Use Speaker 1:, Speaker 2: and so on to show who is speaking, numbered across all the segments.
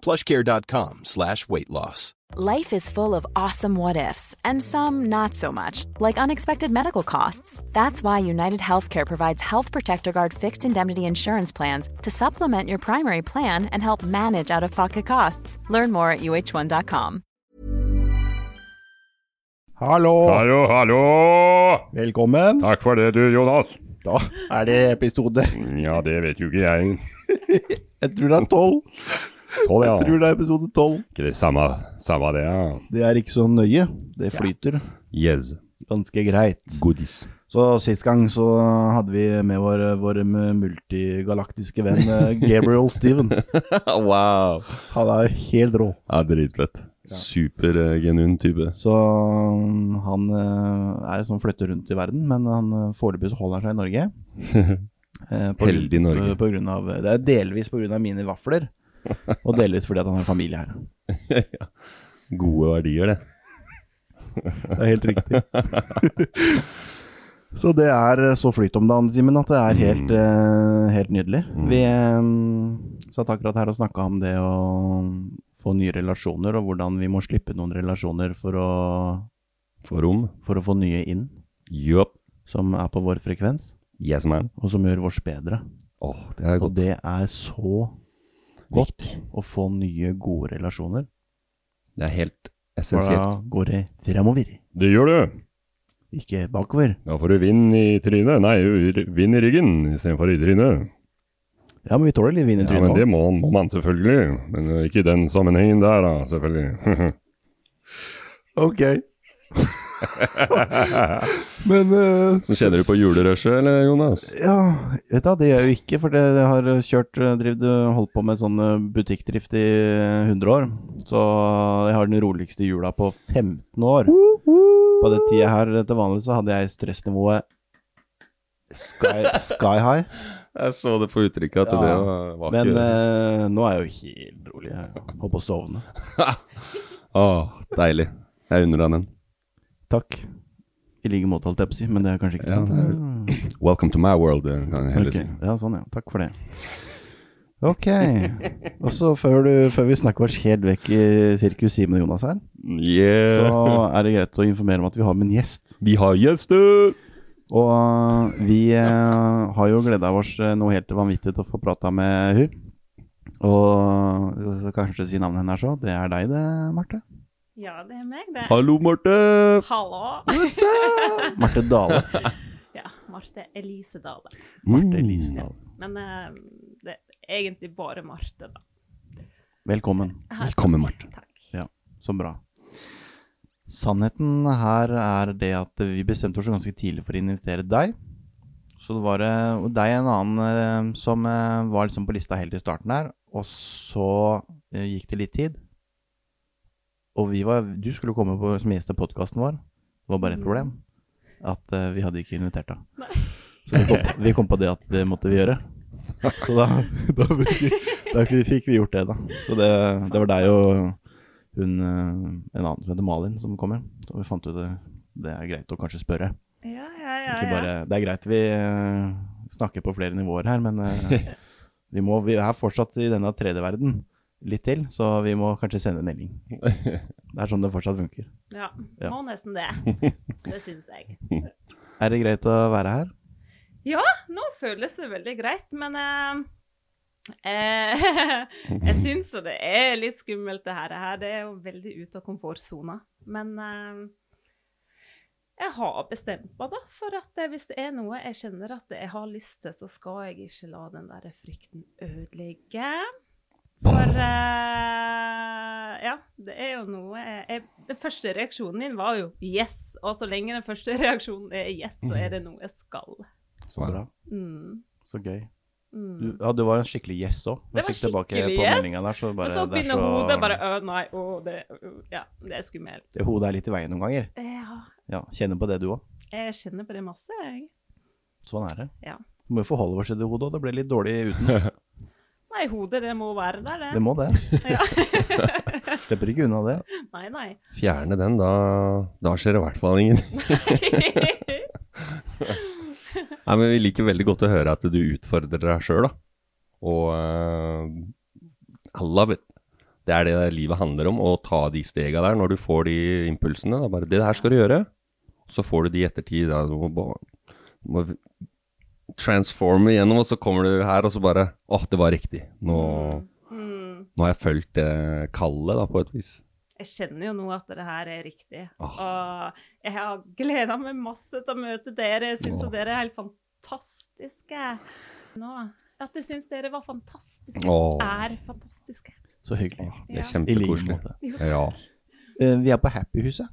Speaker 1: Plushcare.com slash weight loss.
Speaker 2: Life is full of awesome what ifs, and some not so much, like unexpected medical costs. That's why United Healthcare provides Health Protector Guard fixed indemnity insurance plans to supplement your primary plan and help manage out of pocket costs. Learn more at uh1.com.
Speaker 3: Hallo!
Speaker 4: Hallo, hallo!
Speaker 3: Velkommen.
Speaker 4: Takk for det, du, Jonas.
Speaker 3: Da er det episode
Speaker 4: Ja, det vet jo ikke jeg.
Speaker 3: Jeg tror det er tolv.
Speaker 4: Tolv,
Speaker 3: Jeg tror
Speaker 4: ja.
Speaker 3: det er episode tolv.
Speaker 4: Ikke det samme, samme det, ja.
Speaker 3: Det er ikke så nøye. Det flyter
Speaker 4: Yes.
Speaker 3: ganske greit.
Speaker 4: Goodies.
Speaker 3: Så sist gang så hadde vi med vår, vår multigalaktiske venn eh, Gabriel Steven.
Speaker 4: wow.
Speaker 3: Han er helt rå.
Speaker 4: Ja, dritfett. Supergenun type.
Speaker 3: Så mm, han eh, er sånn flytter rundt i verden, men han eh, foreløpig så holder han seg i Norge. Eh, på grunn-
Speaker 4: Heldig Norge.
Speaker 3: På grunn av, det er delvis pga. mine vafler, og delvis fordi at han har familie her.
Speaker 4: Gode verdier, det.
Speaker 3: Det er helt riktig. så det er eh, så flyt om dagen, Simen, at det er helt, eh, helt nydelig. Vi eh, satt akkurat her og snakka om det å få nye relasjoner, og hvordan vi må slippe noen relasjoner for å,
Speaker 4: For rom.
Speaker 3: for å få nye inn,
Speaker 4: Yup.
Speaker 3: som er på vår frekvens,
Speaker 4: Yes, man.
Speaker 3: og som gjør oss bedre.
Speaker 4: Åh, det
Speaker 3: Og
Speaker 4: er godt.
Speaker 3: det er så godt å få nye, gode relasjoner.
Speaker 4: Det er helt
Speaker 3: For da
Speaker 4: essensielt.
Speaker 3: går det fremover,
Speaker 4: Det gjør du.
Speaker 3: ikke bakover.
Speaker 4: Da får du vind i trynet. Nei, r- vind i ryggen istedenfor i trynet.
Speaker 3: Ja, men vi tåler litt vin i
Speaker 4: Ja,
Speaker 3: trynet
Speaker 4: men
Speaker 3: òg.
Speaker 4: det må, må man selvfølgelig. Men eh, ikke i den sammenhengen der, da, selvfølgelig.
Speaker 3: Ok. Men eh,
Speaker 4: Så kjenner du på julerushet, eller, Jonas?
Speaker 3: ja, vet du, hva, det gjør jeg jo ikke, for det jeg har kjørt, eh, drevet, eh, holdt på med sånn eh, butikkdrift i eh, 100 år. Så jeg har den roligste jula på 15 år. På den tida her eh, til vanlig så hadde jeg stressnivået sky, sky high.
Speaker 4: Jeg så det på uttrykket at
Speaker 3: Ja,
Speaker 4: det var, var
Speaker 3: Men
Speaker 4: ikke
Speaker 3: eh, nå er jeg jo helt rolig. Jeg holdt på å sovne.
Speaker 4: Åh, deilig. Jeg unner deg den.
Speaker 3: Takk. I like måte, holdt jeg på å si, men det er kanskje ikke
Speaker 4: Ja,
Speaker 3: sant.
Speaker 4: det er- Welcome to my world, eh, kan jeg heller
Speaker 3: Ok, Ja, sånn ja. Takk for det. Ok. Og så før, du- før vi snakker oss helt vekk i sirkus Simen og Jonas her,
Speaker 4: si. Yeah.
Speaker 3: så er det greit å informere om at vi har med en gjest.
Speaker 4: Vi har gjester!
Speaker 3: Og vi eh, har jo gleda oss eh, noe helt vanvittig til å få prata med hun. Og jeg skal kanskje si navnet hennes òg. Det er deg det, Marte.
Speaker 5: Ja, det er meg, det.
Speaker 4: Hallo, Marte!
Speaker 5: Hallo.
Speaker 3: Marte Dale.
Speaker 5: Ja, Marte Elise Dale.
Speaker 4: Mm.
Speaker 3: Marte Elisen Dale.
Speaker 5: Men eh, det er egentlig bare Marte, da.
Speaker 3: Velkommen.
Speaker 4: Velkommen, Marte.
Speaker 5: Takk.
Speaker 3: Ja, så bra. Sannheten her er det at vi bestemte oss ganske tidlig for å invitere deg. Så det var eh, og deg og en annen eh, som eh, var liksom på lista helt i starten her, og så eh, gikk det litt tid. Og vi var, du skulle komme på, som gjest til podkasten vår. Det var bare et problem. At eh, vi hadde ikke invitert deg.
Speaker 5: Mm. Nei.
Speaker 3: Så vi kom, på, vi kom på det at det måtte vi gjøre. Så da, da, fikk, vi- da fikk vi gjort det, da. Så det, det var deg og hun, eh, en annen som heter Malin, som kommer. Så vi fant ut det, det er greit å kanskje spørre.
Speaker 5: Ja, ja, ja.
Speaker 3: Ikke
Speaker 5: ja.
Speaker 3: bare, det er greit vi eh, snakker på flere nivåer her, men eh, vi, må, vi er fortsatt i denne tredje verden litt til, så vi må kanskje sende en melding. Det er sånn det fortsatt funker.
Speaker 5: Ja,
Speaker 3: Ja.
Speaker 5: må nesten det. Det syns jeg.
Speaker 3: Er det greit å være her?
Speaker 5: Ja, nå føles det veldig greit, men eh, Eh, jeg syns jo det er litt skummelt, det her. Det her, Det er jo veldig ute av komfortsona. Men eh, jeg har bestemt meg da, for at eh, hvis det er noe jeg kjenner at jeg har lyst til, så skal jeg ikke la den der frykten ødelegge. For eh, ja, det er jo noe jeg, jeg, Den første reaksjonen min var jo 'yes'. Og så lenge den første reaksjonen er 'yes', så er det noe jeg skal.
Speaker 3: Så bra.
Speaker 5: Mm.
Speaker 3: Så gøy.
Speaker 5: Mm.
Speaker 3: Du, ja, du var en skikkelig yes òg.
Speaker 5: Det var skikkelig
Speaker 3: på
Speaker 5: yes.
Speaker 3: meldingen Der, så bare,
Speaker 5: Men
Speaker 3: det
Speaker 5: så
Speaker 3: er
Speaker 5: begynner hodet bare Å, nei, å, det, øh, ja, det er skummelt.
Speaker 3: Det Hodet er litt i veien noen ganger.
Speaker 5: Ja,
Speaker 3: Ja, Kjenner på det du òg.
Speaker 5: jeg kjenner på det masse, jeg.
Speaker 3: Sånn er det.
Speaker 5: Ja.
Speaker 3: Du må jo forholde oss til det hodet, og det ble litt dårlig uten.
Speaker 5: Nei, hodet, det må være der, det.
Speaker 3: Det må det. Slipper ikke unna det.
Speaker 5: Nei, nei.
Speaker 4: Fjerne den, da, da skjer det i hvert fall ingenting. Nei, men vi liker veldig godt å høre at du utfordrer deg sjøl, da. Og eh, I love it. Det er det livet handler om, å ta de stega der når du får de impulsene. Da. Bare 'det her skal du gjøre', så får du de i ettertid. Da. Du må, ba- du må transforme igjennom, og så kommer du her, og så bare 'Å, det var riktig'. Nå,
Speaker 5: Mm.
Speaker 4: nå har jeg fulgt det kallet, da, på et vis.
Speaker 5: Jeg kjenner jo nå at det her er riktig.
Speaker 4: Åh.
Speaker 5: Og jeg har gleda meg masse til å møte dere. Jeg syns
Speaker 4: Åh.
Speaker 5: jo dere er helt fantastiske nå. At jeg syns dere var fantastiske.
Speaker 4: Åh.
Speaker 5: Er fantastiske.
Speaker 3: Så hyggelig. I
Speaker 4: Det er
Speaker 5: Ja.
Speaker 3: like
Speaker 4: kjempekoselig.
Speaker 3: måte.
Speaker 4: Ja.
Speaker 3: Eh, Vi er på Happyhuset.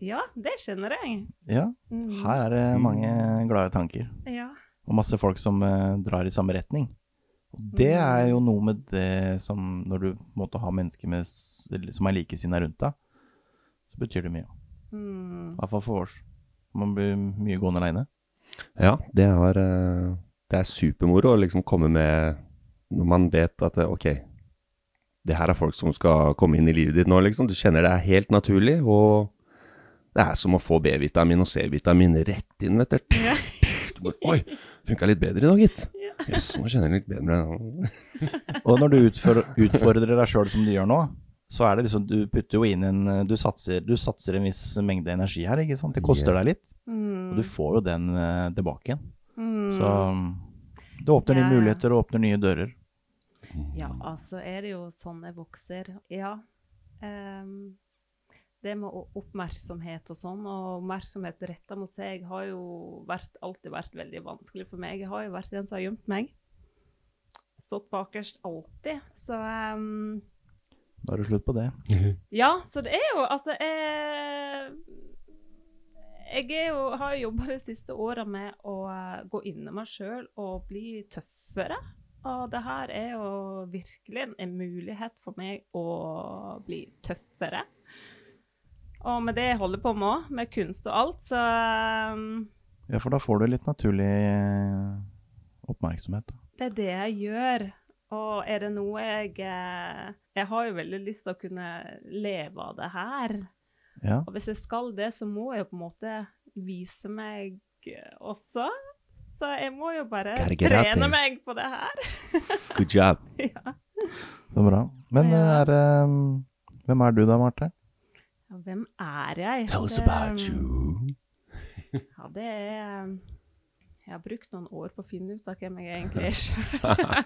Speaker 5: Ja, det kjenner jeg.
Speaker 3: Ja,
Speaker 5: Mm.
Speaker 3: her er det mange glade tanker.
Speaker 5: Ja.
Speaker 3: Og masse folk som eh, drar i samme retning. Og det er jo noe med det som Når du måtte ha mennesker med, s- eller som er likesinna rundt deg, så betyr det mye.
Speaker 5: Mm.
Speaker 3: I hvert fall for oss. Man blir mye gående aleine.
Speaker 4: Ja, det er, eh, det er supermoro å liksom komme med Når man vet at eh, ok, det her er folk som skal komme inn i livet ditt nå, liksom. Du kjenner det er helt naturlig, og det er som å få B-vitamin og C-vitamin rett inn, vet du. Du bare, Oi, funka litt bedre i dag, gitt. Jøss, nå kjenner jeg litt bedre.
Speaker 3: Og når du utfor- utfordrer deg sjøl som du gjør nå, så er det liksom Du putter jo inn en eh, Du satser, du satser en viss mengde energi her, ikke sant. Det koster deg litt. Og
Speaker 5: Mm.
Speaker 3: du får jo den eh, tilbake igjen.
Speaker 5: Mm.
Speaker 3: Så um, det åpner
Speaker 5: Ja,
Speaker 3: nye
Speaker 5: ja.
Speaker 3: muligheter og åpner nye dører.
Speaker 5: Ja, altså er det jo sånn jeg vokser. Ja. Ehm, det med å- oppmerksomhet og sånn, og oppmerksomhet retta mot seg, har jo vært, alltid vært veldig vanskelig for meg. Jeg har jo vært den som har gjemt meg. Stått bakerst alltid. Så ehm,
Speaker 3: Da er det slutt på det.
Speaker 5: ja, så det er jo Altså, jeg, jeg er jo, har jo jobba de siste åra med å eh, gå inn i meg sjøl og bli tøffere. Og det her er jo virkelig en mulighet for meg å bli tøffere. Og med det jeg holder på med òg, med kunst og alt, så eh,
Speaker 3: Ja, for da får du litt naturlig eh, oppmerksomhet. Da.
Speaker 5: Det er det jeg gjør. Og er det noe jeg eh, Jeg har jo veldig lyst til å kunne leve av det her.
Speaker 3: Ja.
Speaker 5: Og hvis jeg skal det, så må jeg jo på en måte vise meg eh, også. Så jeg må jo bare
Speaker 4: Gotta get out
Speaker 5: trene
Speaker 4: there.
Speaker 5: meg på det her.
Speaker 4: Good job.
Speaker 3: Det er bra. Men eh,
Speaker 5: Ja.
Speaker 3: er, eh, hvem er du da, Marte?
Speaker 5: Ja, Hvem er jeg?
Speaker 4: Tell us
Speaker 5: Det-
Speaker 4: about you.
Speaker 5: Ja, det er eh, Jeg har brukt noen år på å finne ut av hvem jeg egentlig er sjøl.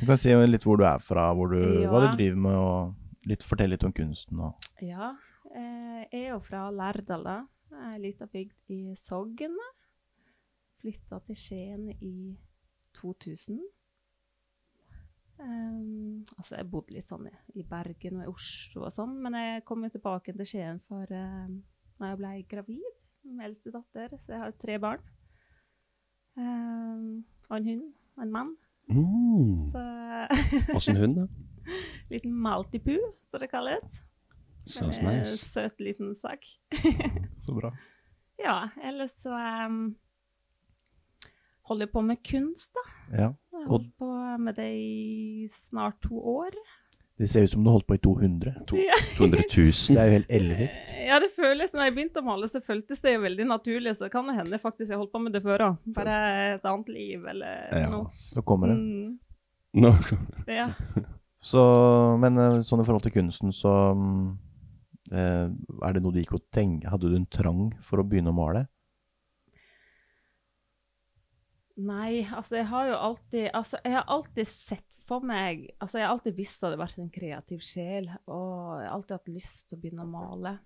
Speaker 3: Du kan si litt hvor du er fra, hvor du, hva
Speaker 5: Ja.
Speaker 3: du driver med, og litt, fortell litt om kunsten. Og.
Speaker 5: Ja, eh, jeg er jo fra Lærdala, ei lita bygd i Sogn. Flytta til Skien i 2000. Ehm, altså, jeg bodde litt sånn i- i Bergen og i Oslo og sånn, men jeg kom jo tilbake til Skien for uh, når jeg ble gravid med eldste datter, så jeg har tre barn. Ehm, og en hund og en mann.
Speaker 4: Mm.
Speaker 5: Så
Speaker 4: Åssen hund, da?
Speaker 5: liten maltipoo, som det kalles.
Speaker 4: Sounds
Speaker 5: En, eh,
Speaker 4: nice.
Speaker 5: Søt liten sak.
Speaker 3: Så bra.
Speaker 5: Ja, ellers så em, holder jeg på med kunst, da.
Speaker 3: Ja.
Speaker 5: Jeg har
Speaker 3: Og-
Speaker 5: holdt på med det i snart to år.
Speaker 3: Det ser ut som du holdt på i 200.
Speaker 4: To, 200
Speaker 3: Det
Speaker 4: 000.
Speaker 3: er jo helt ellevilt.
Speaker 5: Ja, det føles, når jeg begynte å male, så føltes det jo veldig naturlig. Så kan det hende faktisk jeg holdt på med det før òg. Bare et annet liv eller
Speaker 4: Ja.
Speaker 5: noe.
Speaker 3: Så kommer det.
Speaker 5: Mm,
Speaker 4: Nå
Speaker 5: ja.
Speaker 3: Så, men eh, sånn i forhold til kunsten, så mm, eh, er det noe du gikk og tenkte Hadde du en trang for å begynne å male?
Speaker 5: Nei, altså jeg har jo alltid Altså jeg har alltid sett for meg Altså jeg har alltid visst at jeg har vært en kreativ sjel, og jeg har alltid hatt lyst til å begynne å male.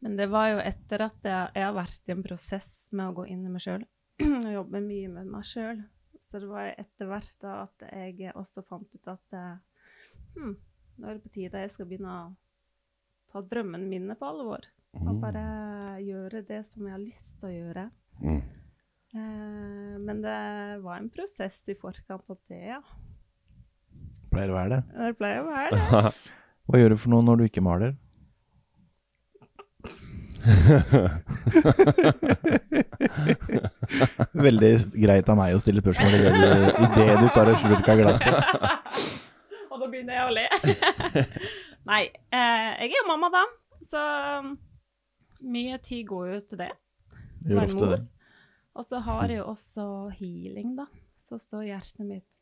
Speaker 5: Men det var jo etter at jeg, jeg har vært i en prosess med å gå inn i meg sjøl, og jobbe mye med meg sjøl. Så det var jo etter hvert da at jeg også fant ut at eh, hm, nå er det på tide jeg skal begynne å ta drømmene mine på alvor. Og bare gjøre det som jeg har lyst til å gjøre.
Speaker 6: Mm.
Speaker 5: Eh, Men det var en prosess i forkant av det, ja.
Speaker 3: Pleier å være det.
Speaker 5: Det pleier å være det.
Speaker 3: Hva gjør du for noe når du ikke maler? Veldig greit av meg å stille spørsmål idet du, i det du tar en slurk av glasset.
Speaker 5: Og da begynner jeg å le. Nei, eh, jeg er jo mamma, da. Så um, mye tid går jo til det.
Speaker 3: Gjør
Speaker 5: Være
Speaker 3: ofte
Speaker 5: mor.
Speaker 3: det.
Speaker 5: Og så har jeg jo også healing, da. Så står hjertet mitt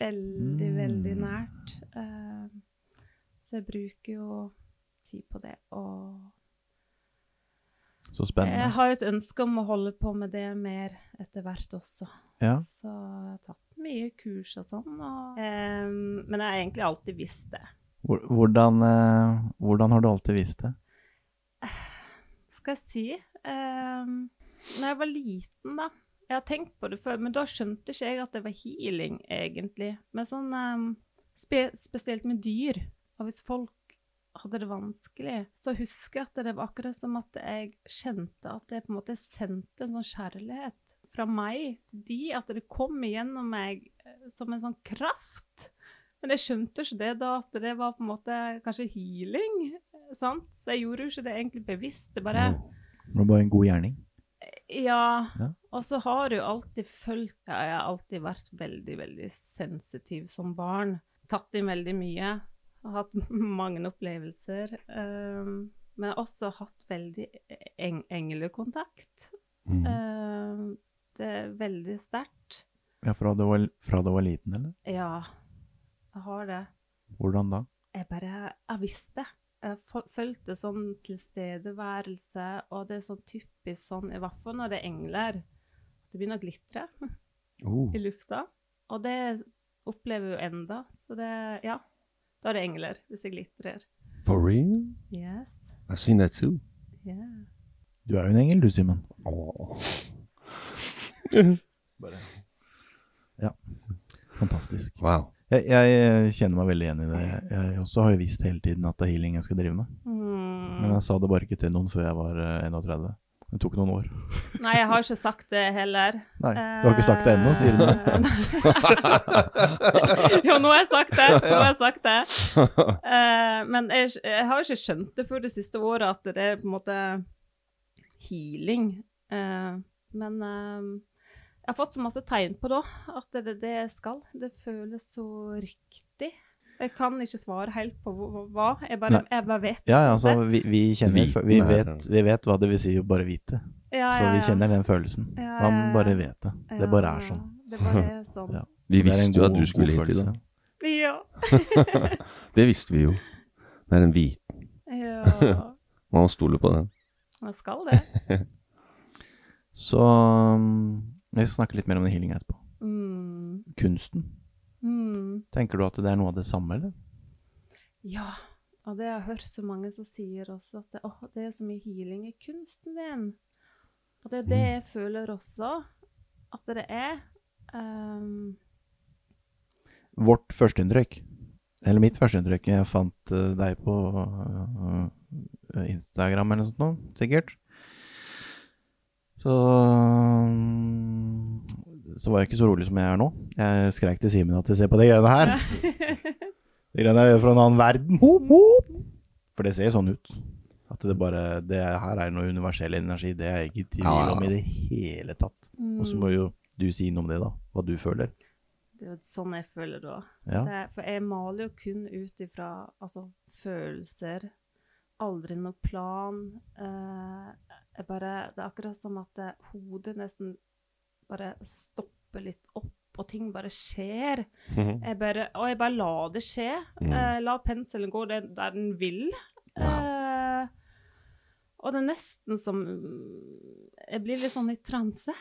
Speaker 5: veldig,
Speaker 3: Mm.
Speaker 5: veldig nært. Eh, Så jeg bruker jo tid på det. Og
Speaker 3: Så
Speaker 5: jeg
Speaker 3: spennende.
Speaker 5: har jo et ønske om å holde på med det mer etter hvert også.
Speaker 3: Ja.
Speaker 5: Så jeg har tatt mye kurs og sånn. Og, Ehm, men jeg har egentlig alltid visst det.
Speaker 3: Hvor- Hvordan, eh, hvordan har du alltid visst det?
Speaker 5: Skal jeg si um, Når jeg var liten, da Jeg har tenkt på det før, men da skjønte ikke jeg at det var healing, egentlig. Men sånn ehm, spe Spesielt med dyr. Og hvis folk hadde det vanskelig, så husker jeg at det var akkurat som at jeg kjente at jeg på en måte sendte en sånn kjærlighet fra meg til de, at det kom igjennom meg eh, som en sånn kraft. Men jeg skjønte ikke det da, at det var på en måte kanskje healing, eh, sant? Så jeg gjorde jo ikke det egentlig bevisst, det bare...
Speaker 3: Det var bare en god gjerning.
Speaker 5: Ja.
Speaker 3: Ja.
Speaker 5: Og så har du alltid følt ja, Jeg har alltid vært veldig, veldig sensitiv som barn. Tatt inn veldig mye. Har hatt mange opplevelser. Um, men jeg har også hatt veldig e-, eng englekontakt.
Speaker 4: Mm.
Speaker 5: Um, det er veldig sterkt.
Speaker 3: Ja, fra du, var, fra du var liten, eller?
Speaker 5: Ja, jeg har det.
Speaker 3: Hvordan da?
Speaker 5: Jeg bare Jeg visste det. Jeg fo- følte sånn tilstedeværelse, og det er sånn typisk sånn, i hvert fall når det er engler, det begynner å glitre
Speaker 4: Oh,
Speaker 5: i lufta. Og det opplever jeg jo enda, så det Ja. Da er det engler, hvis jeg glitrer.
Speaker 4: For real?
Speaker 5: Yes.
Speaker 4: I've seen that too.
Speaker 5: Yeah.
Speaker 3: Du er jo en engel, du, Simen. Ja. Fantastisk.
Speaker 4: Wow.
Speaker 3: Jeg, jeg kjenner meg veldig igjen i det. Jeg også har jo visst hele tiden at det er healing jeg skal drive med. Men
Speaker 5: Mm.
Speaker 3: jeg sa det bare ikke til noen før jeg var eh, 31. Det tok noen år.
Speaker 5: Nei, jeg har ikke sagt det heller.
Speaker 3: Nei, du har ikke sagt det
Speaker 5: Eh,
Speaker 3: ennå, sier du nå.
Speaker 5: jo, nå har jeg sagt det. Nå har jeg sagt det. Eh, men jeg, jeg har ikke skjønt det før det siste året at det er på en måte healing. Eh, men eh, jeg har fått så masse tegn på da, at det er det jeg skal. Det føles så riktig. Jeg kan ikke svare helt på hva- hva. Jeg bare,
Speaker 3: Nei.
Speaker 5: jeg bare vet.
Speaker 3: Ja, ja, altså, vi, vi kjenner
Speaker 4: Viten
Speaker 3: vi
Speaker 4: er-
Speaker 3: vet, vi vet hva det vil si å bare vite.
Speaker 5: Ja,
Speaker 3: Så
Speaker 5: ja,
Speaker 3: vi
Speaker 5: ja.
Speaker 3: kjenner den følelsen.
Speaker 5: Ja, ja,
Speaker 3: Man
Speaker 5: ja.
Speaker 3: bare vet det. Det bare er sånn.
Speaker 5: Ja, Det bare er sånn.
Speaker 3: Ja.
Speaker 4: Vi
Speaker 3: Det er en
Speaker 4: visste jo at
Speaker 3: god-
Speaker 4: du
Speaker 3: god
Speaker 4: skulle hit i
Speaker 3: følelse.
Speaker 4: dag.
Speaker 5: Ja.
Speaker 4: Det visste vi jo. Det er en hvit.
Speaker 5: ja.
Speaker 4: Man må stole på den.
Speaker 5: Jeg skal det.
Speaker 3: Så um, vi skal snakke litt mer om den healinga etterpå.
Speaker 5: Mm.
Speaker 3: Kunsten.
Speaker 5: Mm.
Speaker 3: Tenker du at det er noe av det samme, eller?
Speaker 5: Ja, og det har jeg hørt så mange som sier også, at det, «Åh, det er så mye healing i kunsten din. Og det er det jeg føler også, at det er. Ehm,
Speaker 3: Vårt førsteinntrykk, eller mitt førsteinntrykk Jeg fant eh, deg på eh, Instagram eller noe sånt, nå, sikkert. Så um, Så var jeg ikke så rolig som jeg er nå. Jeg skreik til Simen at jeg ser på de greiene her. De greiene jeg gjør fra en annen verden. Hop, hop. For det ser sånn ut. At det bare Det her er noe universell energi. Det er jeg ikke i tvil
Speaker 4: Ja, ja, ja.
Speaker 3: om i det hele tatt. Og så må jo du si noe om det, da. Hva du føler.
Speaker 5: det er jo sånn jeg føler da.
Speaker 3: Ja.
Speaker 5: Det er, for jeg maler jo kun ut ifra altså, følelser. Aldri noe plan. Eh, jeg bare, det er akkurat som at eh, hodet nesten bare stopper litt opp, og ting bare skjer. jeg bare, og jeg bare la det skje. Eh, la penselen gå der, der den vil. Eh, og det er nesten som Jeg blir litt sånn i transe.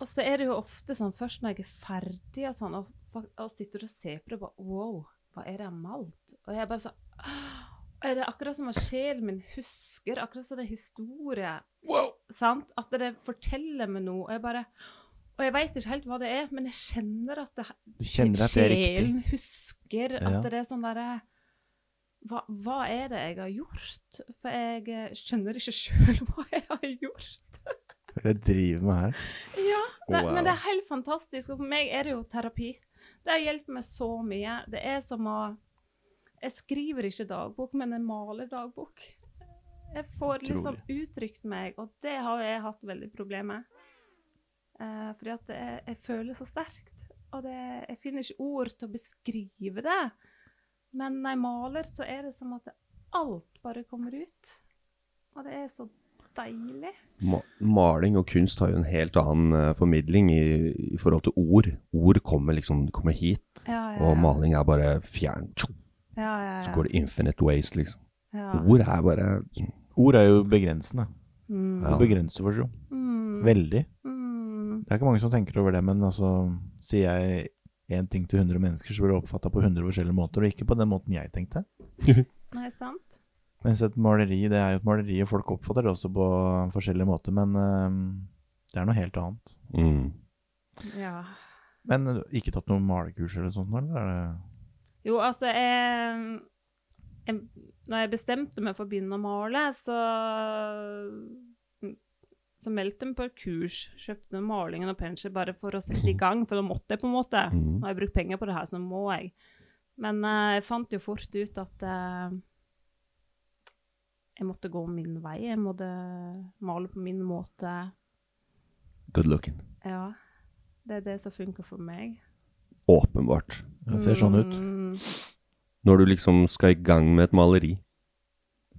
Speaker 5: Og så er det jo ofte sånn først når jeg er ferdig og sånn, og, fa- og sitter og ser på det og bare Wow, hva er det jeg har malt? Og jeg er bare sånn «Åh!» Er det akkurat som at sjelen min husker, akkurat som det er historie? Sant? At det forteller meg noe. Og jeg bare Og jeg veit ikke helt hva det er, men jeg kjenner at det,
Speaker 3: Du kjenner at det er riktig.
Speaker 5: sjelen husker. At
Speaker 3: Ja.
Speaker 5: det er sånn derre hva, hva er det jeg har gjort? For jeg eh, skjønner ikke sjøl hva jeg har gjort.
Speaker 3: Hva er det jeg driver med her?
Speaker 5: Ja, nei,
Speaker 4: Wow.
Speaker 5: men det er helt fantastisk. Og for meg er det jo terapi. Det har hjulpet meg så mye. Det er som å Jeg skriver ikke dagbok, men jeg maler dagbok. Jeg får liksom uttrykt meg, og det har jeg hatt veldig problemer med. Eh, fordi at det er, jeg føler så sterkt. Og det, jeg finner ikke ord til å beskrive det. Men når jeg maler, så er det som at alt bare kommer ut. Og det er så deilig.
Speaker 4: Ma maling og kunst har jo en helt annen eh, formidling i, i forhold til ord. Ord kommer liksom kommer hit,
Speaker 5: Ja, ja,
Speaker 4: og
Speaker 5: ja.
Speaker 4: maling er bare fjern. Tjo,
Speaker 5: Ja, ja, ja.
Speaker 4: Så går det infinite ways, liksom.
Speaker 5: Ja.
Speaker 4: Ord er bare
Speaker 3: Ord er jo begrensende.
Speaker 4: Ja.
Speaker 3: Det begrenser oss jo.
Speaker 5: Mm,
Speaker 3: Veldig.
Speaker 5: mm,
Speaker 3: Det er ikke mange som tenker over det, men altså Sier jeg én ting til 100 mennesker, så blir det oppfatta på 100 forskjellige måter, og ikke på den måten jeg tenkte.
Speaker 5: nei, sant?
Speaker 3: Mens et maleri, det er jo et maleri, og folk oppfatter det også på forskjellige måter, men eh, det er noe helt annet.
Speaker 4: mm.
Speaker 5: Ja.
Speaker 3: Men du har ikke tatt noe malekurs eller sånt, eller? Er det...
Speaker 5: Jo, altså, jeg, jeg Når jeg bestemte meg for å begynne å male, så så meldte jeg meg på et kurs, kjøpte malingen og pensel bare for å sette i gang, for da måtte jeg på en måte.
Speaker 4: Mhm.
Speaker 5: Når jeg brukt penger på det her, så må jeg. Men eh, jeg fant jo fort ut at eh, jeg måtte gå min vei. Jeg måtte male på min måte.
Speaker 4: Good looking.
Speaker 5: Ja. Det er det som funker for meg.
Speaker 4: Åpenbart.
Speaker 3: Det ser sånn ut.
Speaker 5: Mm.
Speaker 4: Når du liksom skal i gang med et maleri.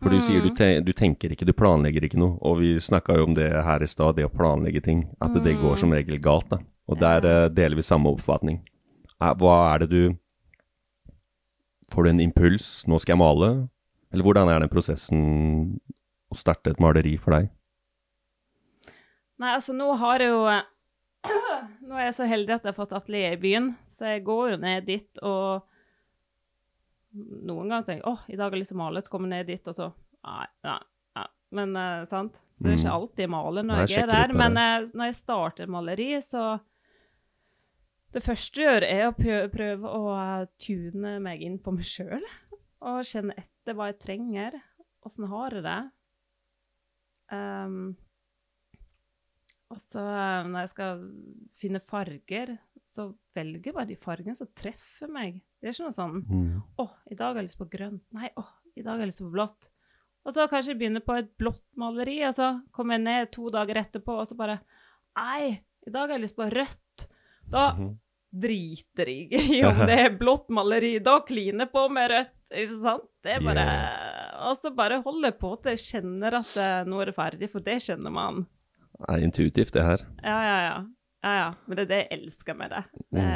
Speaker 4: For du sier du,
Speaker 5: Mm.
Speaker 4: te du tenker ikke, du planlegger ikke noe. Og vi snakka jo om det her i stad, det å planlegge ting. At det går som regel galt, da. Og der eh, deler vi samme oppfatning. Er- Hva er det du Får du en impuls 'nå skal jeg male'? Eller hvordan er den prosessen å starte et maleri for deg?
Speaker 5: Nei, altså nå har jeg jo Nå er jeg så heldig at jeg har fått atelier i byen, så jeg går jo ned dit og Noen ganger sier jeg 'Å, i dag har jeg lyst til å male', så kommer jeg ned dit, og så Nei, nei, nei. Men eh, sant? Så det er ikke alltid jeg maler når
Speaker 4: Mm. Nei,
Speaker 5: jeg er
Speaker 4: sjekker ut
Speaker 5: der.
Speaker 4: det.
Speaker 5: Men eh, når jeg starter maleri, så Det første jeg gjør, er å prøve, prøve å eh, tune meg inn på meg sjøl. Og kjenne etter hva jeg trenger. Åssen har jeg det? Ehm, og så eh, når jeg skal finne farger, så velger jeg bare de fargene som treffer meg. Det er ikke noe sånn Å, i dag har jeg lyst på grønt. Nei, å, i dag har jeg lyst på blått. Og så kanskje jeg begynner på et blått maleri, og så kommer jeg ned to dager etterpå, og så bare Nei, i dag har jeg lyst på rødt. Da driter jeg i om det er blått maleri. Da kliner jeg på med rødt, ikke sant? Det er bare Og så bare holder jeg på til jeg kjenner at eh, nå er det ferdig, for det kjenner man.
Speaker 4: Det er intuitivt, det her.
Speaker 5: Ja, ja, ja. ja, ja. Men det er det jeg elsker med det. det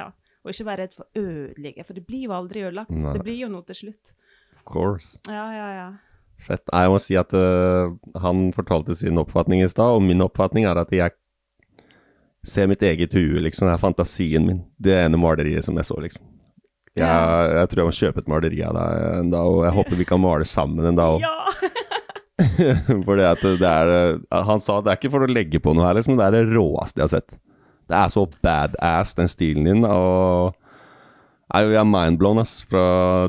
Speaker 5: ja. Og ikke være redd for å ødelegge, for det blir jo aldri ødelagt.
Speaker 4: Nei.
Speaker 5: Det blir jo noe til slutt.
Speaker 4: Of course.
Speaker 5: Ja, ja, ja.
Speaker 4: Fett. Nei, Jeg må si at øh, han fortalte sin oppfatning i stad, og min oppfatning er at jeg ser mitt eget hue, liksom. Det er fantasien min. Det ene maleriet som jeg så, liksom. Jeg, jeg tror jeg må kjøpe et maleri av deg en dag, og jeg håper vi kan male sammen en dag òg.
Speaker 5: Ja!
Speaker 4: For det at det er øh, Han sa det er ikke for å legge på noe her, liksom. Det er det råeste jeg har sett. Det er så badass, den stilen din, og Nei, jeg er mindblown ass, fra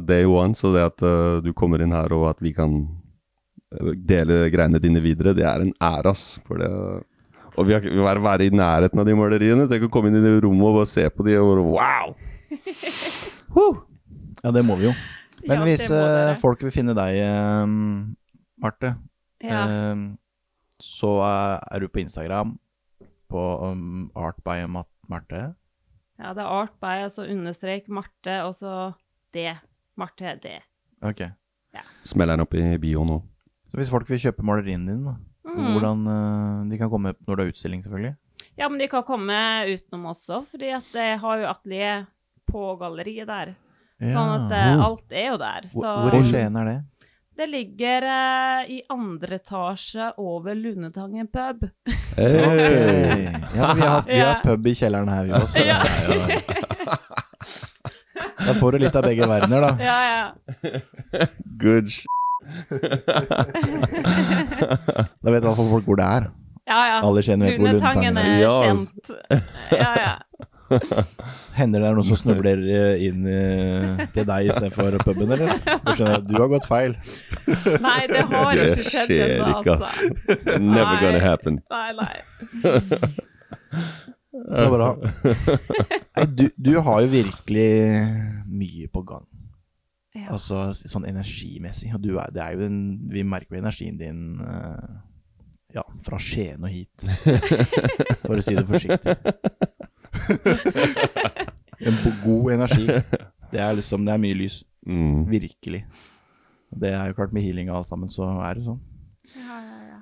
Speaker 4: day one, så det at øh, du kommer inn her og at vi kan øh, dele greiene dine videre, det er en ære, ass. For det, og vi har vi har vært i nærheten av de maleriene. Tenk å komme inn i det rommet og bare se på de og bare, wow!
Speaker 3: Huh! Ja, det må vi jo. Men
Speaker 5: Ja, det
Speaker 3: hvis
Speaker 5: må dere.
Speaker 3: eh, folk vil finne deg, eh, Marte,
Speaker 5: ja.
Speaker 3: eh, så eh, er du på Instagram på um, Art by Mat Marte.
Speaker 5: ja, det er art by, altså understrek Marte, og så det. Marte er det.
Speaker 3: Ok.
Speaker 4: Smeller den opp i bio nå.
Speaker 3: Så hvis folk vil kjøpe maleriene dine, da,
Speaker 5: Mm.
Speaker 3: hvordan eh, de kan komme når det er utstilling, selvfølgelig?
Speaker 5: Ja, men de kan komme utenom også, fordi at jeg har jo atelier
Speaker 4: Oh.
Speaker 5: på galleriet der. Sånn at eh, alt er jo der.
Speaker 3: Hvor,
Speaker 5: Så
Speaker 3: hvor i Skien er det?
Speaker 5: det Det ligger eh, i andre etasje over Lundetangen pub.
Speaker 4: Hey.
Speaker 3: Ja, vi har, vi har
Speaker 5: Ja.
Speaker 3: pub i kjelleren her, vi også.
Speaker 5: Ja.
Speaker 3: Da får du litt av begge verdener, da.
Speaker 5: Ja, ja.
Speaker 4: Good sh...
Speaker 3: Da vet i hvert fall folk hvor det er.
Speaker 5: ja, ja.
Speaker 3: Alle kjenner vet hvor Lundetangen
Speaker 5: Lundetangen
Speaker 3: er.
Speaker 5: er
Speaker 4: Ja, altså. ass.
Speaker 5: kjent. Ja, ja.
Speaker 3: Hender det er noen som snubler eh, inn eh, til deg istedenfor puben, eller? Du skjønner at du har gått feil.
Speaker 5: Nei, det har
Speaker 4: Det
Speaker 5: ikke skjedd
Speaker 4: skjer
Speaker 5: ennå,
Speaker 4: ikke, ass.
Speaker 5: altså.
Speaker 4: Never
Speaker 5: Nei.
Speaker 4: gonna happen.
Speaker 5: Nei, nei.
Speaker 3: Så det er bra. Nei, du, du har jo virkelig mye på gang.
Speaker 5: Ja.
Speaker 3: Altså sånn energimessig. Og du er, det er jo en, vi merker jo energien din eh, ja, fra Skien og hit, for å si det forsiktig. en bo- god energi. Det er liksom Det er mye lys.
Speaker 4: Mm.
Speaker 3: Virkelig. Det er jo klart, med healing og alt sammen, så er det sånn.
Speaker 5: Ja, ja, ja.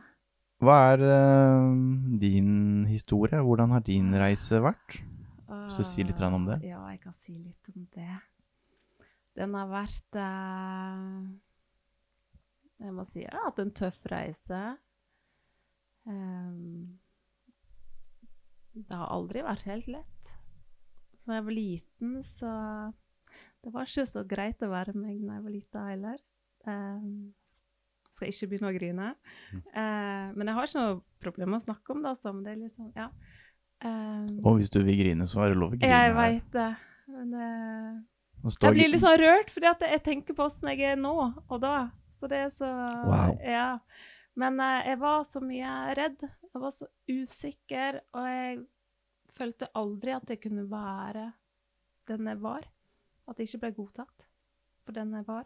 Speaker 3: Hva er eh, din historie? Hvordan har din reise vært? Så si litt grann om det.
Speaker 5: Eh, Ja, jeg kan si litt om det. Den har vært eh, Jeg må si jeg har hatt en tøff reise. Ehm, det har aldri vært helt lett. Da jeg var liten, så Det var ikke så greit å være meg da jeg var lita heller. Ehm, skal ikke begynne å grine.
Speaker 3: Mm.
Speaker 5: Eh, men jeg har ikke noe problem med å snakke om det, altså. Men det er liksom, ja. Ehm,
Speaker 3: Og hvis du vil grine, så er det lov å grine.
Speaker 5: jeg
Speaker 3: her.
Speaker 5: veit det. Men eh,
Speaker 3: Nå står
Speaker 5: jeg blir
Speaker 3: gri-
Speaker 5: litt sånn rørt, fordi at jeg tenker på åssen jeg er nå og da. Så det er så
Speaker 3: Wow.
Speaker 5: Ja. Men eh, jeg var så mye redd. Jeg var så usikker, og jeg følte aldri at jeg kunne være den jeg var. At jeg ikke ble godtatt for den jeg var.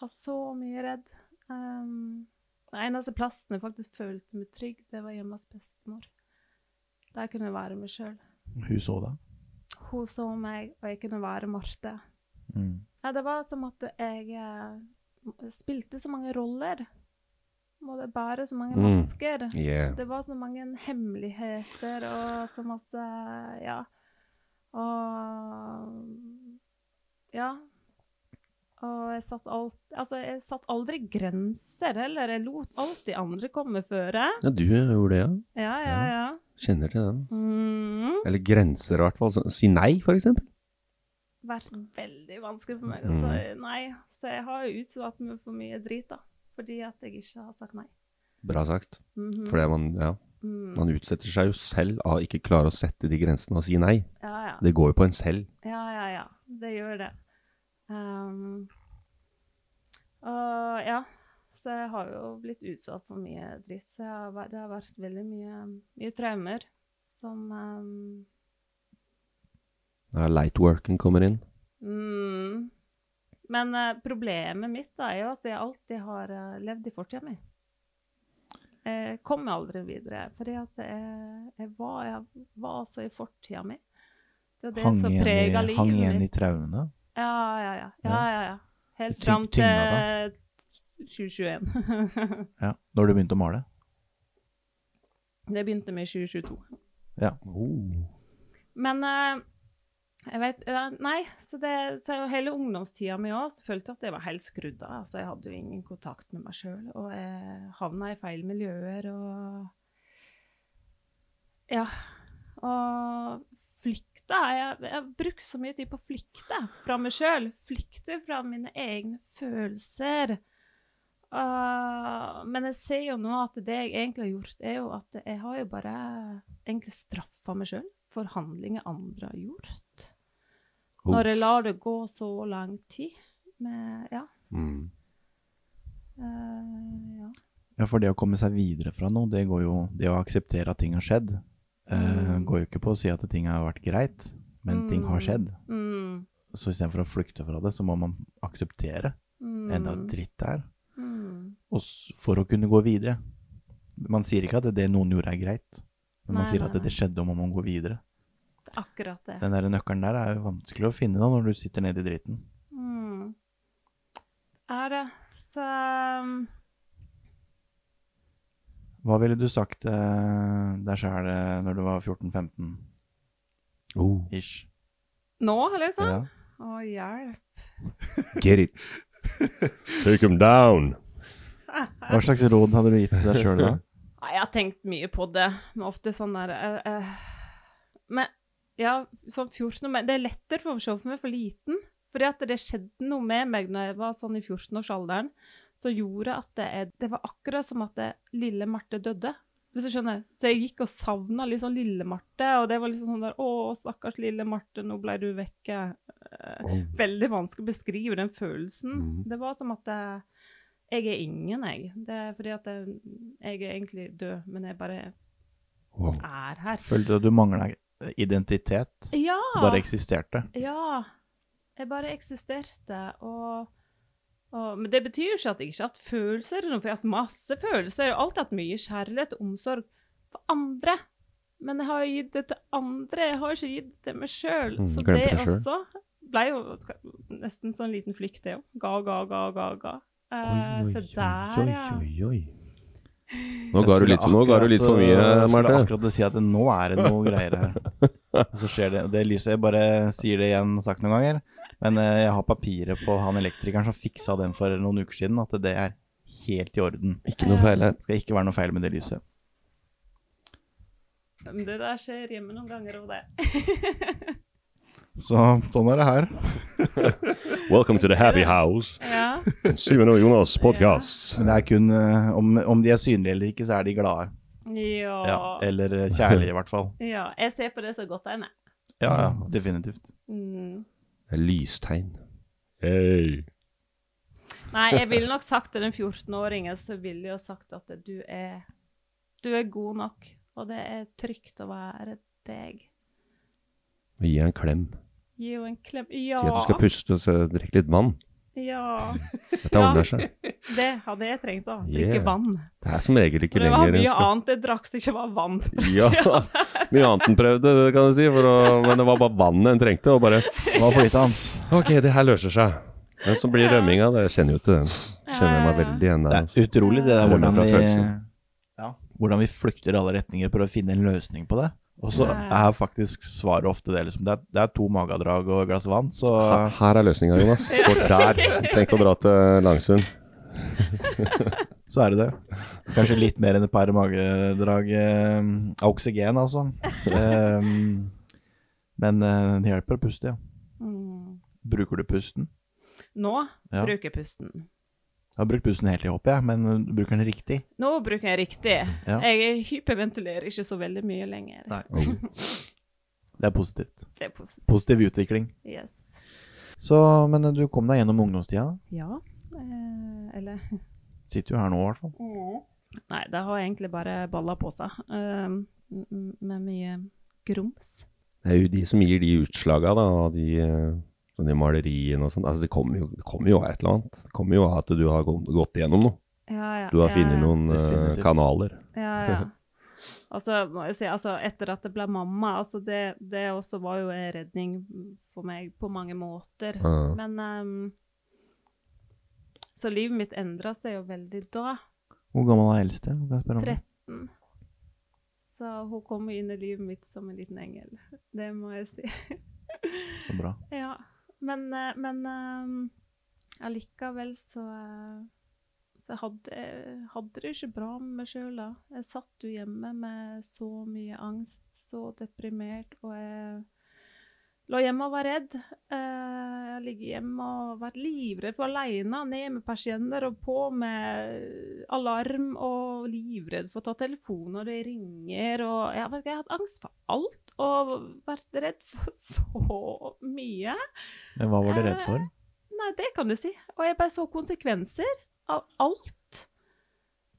Speaker 5: Var så mye redd. Um, den eneste plassen jeg faktisk følte meg trygg, det var hjemme hos bestemor. Der kunne jeg være meg sjøl.
Speaker 3: Hun så deg.
Speaker 5: Hun så meg, og jeg kunne være Marte.
Speaker 3: Mm.
Speaker 5: Ja, det var som at jeg eh, spilte så mange roller. Måtte bære så mange
Speaker 4: Mm.
Speaker 5: masker.
Speaker 4: Yeah.
Speaker 5: Det var så mange hemmeligheter og så masse Ja. Og Ja. Og jeg satt, alt, altså jeg satt aldri grenser heller. Jeg lot alltid andre komme føre.
Speaker 4: Ja, du gjorde det, ja.
Speaker 5: Ja, ja, ja.
Speaker 4: Kjenner til den.
Speaker 5: Mm.
Speaker 4: Eller grenser, i hvert fall. Så- Si nei, for eksempel.
Speaker 5: vært veldig vanskelig for meg. Altså, nei. Så jeg har jo utsatt meg for mye drit, da. Fordi at jeg ikke har sagt nei.
Speaker 4: Bra sagt.
Speaker 5: Mhm.
Speaker 4: Fordi man, ja,
Speaker 5: Mm.
Speaker 4: man utsetter seg jo selv av ikke klare å sette de grensene og si nei.
Speaker 5: Ja, ja.
Speaker 4: Det går jo på en selv.
Speaker 5: ja, ja, ja. Det gjør det. Ehm, og ja. Så jeg har jo blitt utsatt for mye dritt. Så jeg har, vært- det har vært veldig mye, mye traumer som ehm,
Speaker 4: Ja, Lightworken kommer inn.
Speaker 5: mm. Men eh, problemet mitt da, er jo at jeg alltid har eh, levd i fortida mi. Jeg kom meg aldri videre, fordi at jeg, jeg, var, jeg var så i fortida mi. Det er jo det
Speaker 3: Hang
Speaker 5: som prega
Speaker 3: igjen, i,
Speaker 5: livet
Speaker 3: hang igjen i
Speaker 5: mitt.
Speaker 3: traumene.
Speaker 5: Ja, ja, ja. ja, ja, ja. Helt
Speaker 3: Tyng-
Speaker 5: fram
Speaker 3: tyngda
Speaker 5: til 2021.
Speaker 3: Ja. Når du begynte å male.
Speaker 5: det begynte med 2022.
Speaker 3: Ja.
Speaker 5: Men eh, jeg vet, eh, Nei, så, det, så hele ungdomstida mi òg følte jeg at jeg var helt skrudd av. Altså, jeg hadde jo ingen kontakt med meg sjøl, og jeg havna i feil miljøer og Ja. Og flykta Jeg, jeg har brukt så mye tid på å flykte fra meg sjøl. Flykte fra mine egne følelser. Eh, men jeg ser jo nå at det jeg egentlig har gjort, er jo at jeg har jo bare egentlig straffa meg sjøl for handlinger andre har gjort.
Speaker 4: Oh.
Speaker 5: Når jeg lar det gå så lang tid med Ja.
Speaker 4: Mm.
Speaker 5: eh, ja.
Speaker 3: ja, for det å komme seg videre fra noe, det går jo Det å akseptere at ting har skjedd,
Speaker 5: Mm.
Speaker 3: eh, går jo ikke på å si at ting har vært greit, men ting har skjedd.
Speaker 5: Mm,
Speaker 3: Så istedenfor å flykte fra det, så må man akseptere
Speaker 5: mm,
Speaker 3: enda dritt det er,
Speaker 5: mm.
Speaker 3: og s- for å kunne gå videre. Man sier ikke at det noen gjorde, er greit, men man
Speaker 5: Nei,
Speaker 3: sier
Speaker 5: nei,
Speaker 3: at det,
Speaker 5: nei.
Speaker 3: det skjedde, og man må gå videre.
Speaker 5: Det er Akkurat det.
Speaker 3: Den der nøkkelen der er jo vanskelig å finne da, når du sitter nede i dritten.
Speaker 5: Mm. Er det så um,
Speaker 3: Hva ville du sagt eh, deg sjæl eh, når du var 14-15-ish?
Speaker 4: Oh.
Speaker 5: Nå, liksom?
Speaker 3: Ja.
Speaker 5: Å, hjelp.
Speaker 4: Get it.
Speaker 6: Take him down.
Speaker 3: Hva slags råd hadde du gitt til deg sjøl da?
Speaker 5: Nei, jeg har tenkt mye på det, men ofte sånn der eh, eh, Men ja, sånn 14 år men Det er lettere for å se for meg for liten. Fordi at det skjedde noe med meg når jeg var sånn i 14-årsalderen, som gjorde at det, er- det var akkurat som at det, lille Marte døde. Hvis du skjønner. Så jeg gikk og savna liksom lille Marte, og det var liksom sånn der Å, stakkars lille Marte, nå ble du vekke. Eh, Veldig vanskelig å beskrive den følelsen. Det var som at det, jeg er ingen, jeg. Det er fordi at jeg, jeg er egentlig død, men jeg bare
Speaker 6: Wow.
Speaker 5: er her.
Speaker 3: Følte du at du mangla identitet?
Speaker 5: Ja!
Speaker 3: Du bare eksisterte?
Speaker 5: Ja. Jeg bare eksisterte, og, og Men det betyr jo ikke at jeg ikke har hatt følelser, eller noe, for jeg har hatt masse følelser. Jeg har alltid hatt mye kjærlighet og omsorg for andre. Men jeg har jo gitt det til andre, jeg har ikke gitt det til meg sjøl.
Speaker 4: Mm,
Speaker 5: Så
Speaker 4: glemte
Speaker 5: det
Speaker 4: deg selv.
Speaker 5: også ble jo nesten sånn liten flykt, det òg. Ga, ga, ga, ga, ga. Eh, så der, ja.
Speaker 4: Nå ga du litt, nå ga du litt for mye,
Speaker 3: Jeg skulle
Speaker 4: Marte.
Speaker 3: akkurat si at nå er det noe greier her. Og så skjer det. Det lyset Jeg bare sier det igjen, sagt noen ganger. Men eh, jeg har papiret på han elektrikeren som fiksa den for noen uker siden, at det er helt i orden.
Speaker 4: Ikke noe feil her.
Speaker 3: Det skal ikke være noe feil med det lyset.
Speaker 5: Men Det der skjer hjemme noen ganger, og det.
Speaker 3: Så sånn er det her.
Speaker 6: Welcome to the happy house.
Speaker 5: Ja.
Speaker 6: Simen og Jonas podcast.
Speaker 3: Men det er kun eh, om, om de er synlige eller ikke, så er de glade. Ja,
Speaker 5: Ja.
Speaker 3: eller eh, kjærlige, i hvert fall.
Speaker 5: ja. Jeg ser på det så godt jeg er.
Speaker 3: Ja, ja, definitivt.
Speaker 5: Mm.
Speaker 4: Det er Lystegn.
Speaker 6: Hey.
Speaker 5: Nei, jeg ville nok sagt til den 14-åringen så ville jeg jo sagt at du er, du er god nok, og det er trygt å være deg.
Speaker 4: Gi henne en klem.
Speaker 5: Gi henne en klem.
Speaker 4: Si
Speaker 5: Ja.
Speaker 4: at du skal puste og så drikke litt vann.
Speaker 5: Ja.
Speaker 4: Dette
Speaker 5: Ja.
Speaker 4: ordner seg.
Speaker 5: Det hadde jeg trengt, da.
Speaker 4: Yeah.
Speaker 5: Drikke vann.
Speaker 4: Det er som regel ikke
Speaker 5: Men det var
Speaker 4: lenger
Speaker 5: mye
Speaker 4: skal-
Speaker 5: annet jeg drakk som ikke var vann.
Speaker 4: Ja, mye annet enn prøvde, det kan du si. For å, men det var bare vannet en trengte. Og bare
Speaker 3: Det var for lite hans.
Speaker 4: Ok, det her løser seg. Den som blir rømminga, det jeg kjenner jo til den. Kjenner meg
Speaker 5: Ja, ja.
Speaker 4: veldig igjen
Speaker 3: Det
Speaker 4: der.
Speaker 3: er utrolig det der
Speaker 4: Rømmer
Speaker 3: hvordan
Speaker 4: fra
Speaker 3: vi,
Speaker 4: følelsen.
Speaker 3: ja, hvordan vi flykter i alle retninger for å finne en løsning på det. Og så
Speaker 5: Ja.
Speaker 3: er faktisk svaret ofte det, liksom. Det er, det er to magedrag og et glass vann, så
Speaker 4: Ha- Her er løsninga, Jonas. Står der. Tenk å dra til Langsund.
Speaker 3: Så er det det. Kanskje litt mer enn et par magedrag eh, av oksygen, altså. Ehm, men eh, det hjelper å puste, ja.
Speaker 5: Mm.
Speaker 3: Bruker du pusten?
Speaker 5: Nå
Speaker 3: Ja.
Speaker 5: bruker jeg pusten.
Speaker 3: Jeg har brukt pusten helt i hoppet, jeg, men eh, du bruker den riktig.
Speaker 5: Nå bruker jeg riktig.
Speaker 3: Ja.
Speaker 5: Jeg hyperventilerer ikke så veldig mye lenger.
Speaker 3: Nei. Det er positivt.
Speaker 5: Det er positivt.
Speaker 3: Positiv utvikling.
Speaker 5: Yes.
Speaker 3: Så, men eh, du kom deg gjennom ungdomstida. da.
Speaker 5: Ja. Eh, eller
Speaker 3: Sitter jo her nå, i hvert fall.
Speaker 5: Nei, det har egentlig bare balla på seg. ehm, m- m- med mye grums.
Speaker 4: Det er jo de som gir de utslaga, da, og de eh, sånn de maleriene og sånt. Altså, det kommer jo, det kommer jo av et eller annet. Det kommer jo av at du har gå- gått igjennom noe.
Speaker 5: Ja, ja,
Speaker 4: Du har
Speaker 5: ja,
Speaker 4: funnet
Speaker 5: ja.
Speaker 4: noen eh,
Speaker 3: Definitivt.
Speaker 4: kanaler.
Speaker 5: Ja, ja. Og så må jeg si, altså, etter at jeg ble mamma, altså det, det også var jo en redning for meg på mange måter.
Speaker 4: Ja.
Speaker 5: Men ehm, Så livet mitt endra seg jo veldig da.
Speaker 3: Hvor gammel er eldste? Kan jeg spørre om det?
Speaker 5: 13. Så hun kom inn i livet mitt som en liten engel. Det må jeg si.
Speaker 3: Så bra.
Speaker 5: Ja, men, eh, men eh, allikevel så eh, så jeg hadde, eh, hadde det ikke bra med meg sjøl da. Jeg satt jo hjemme med så mye angst, så deprimert, og jeg lå hjemme og var redd. Eh, Jeg ligger hjemme og vært livredd for aleine, ned med persienner og på med alarm, og livredd for å ta telefonen når det ringer, og jeg, vet ikke, jeg har hatt angst for alt, og vært redd for så mye.
Speaker 3: Men hva var du redd for?
Speaker 5: Nei, det kan du si. Og jeg bare så konsekvenser av alt.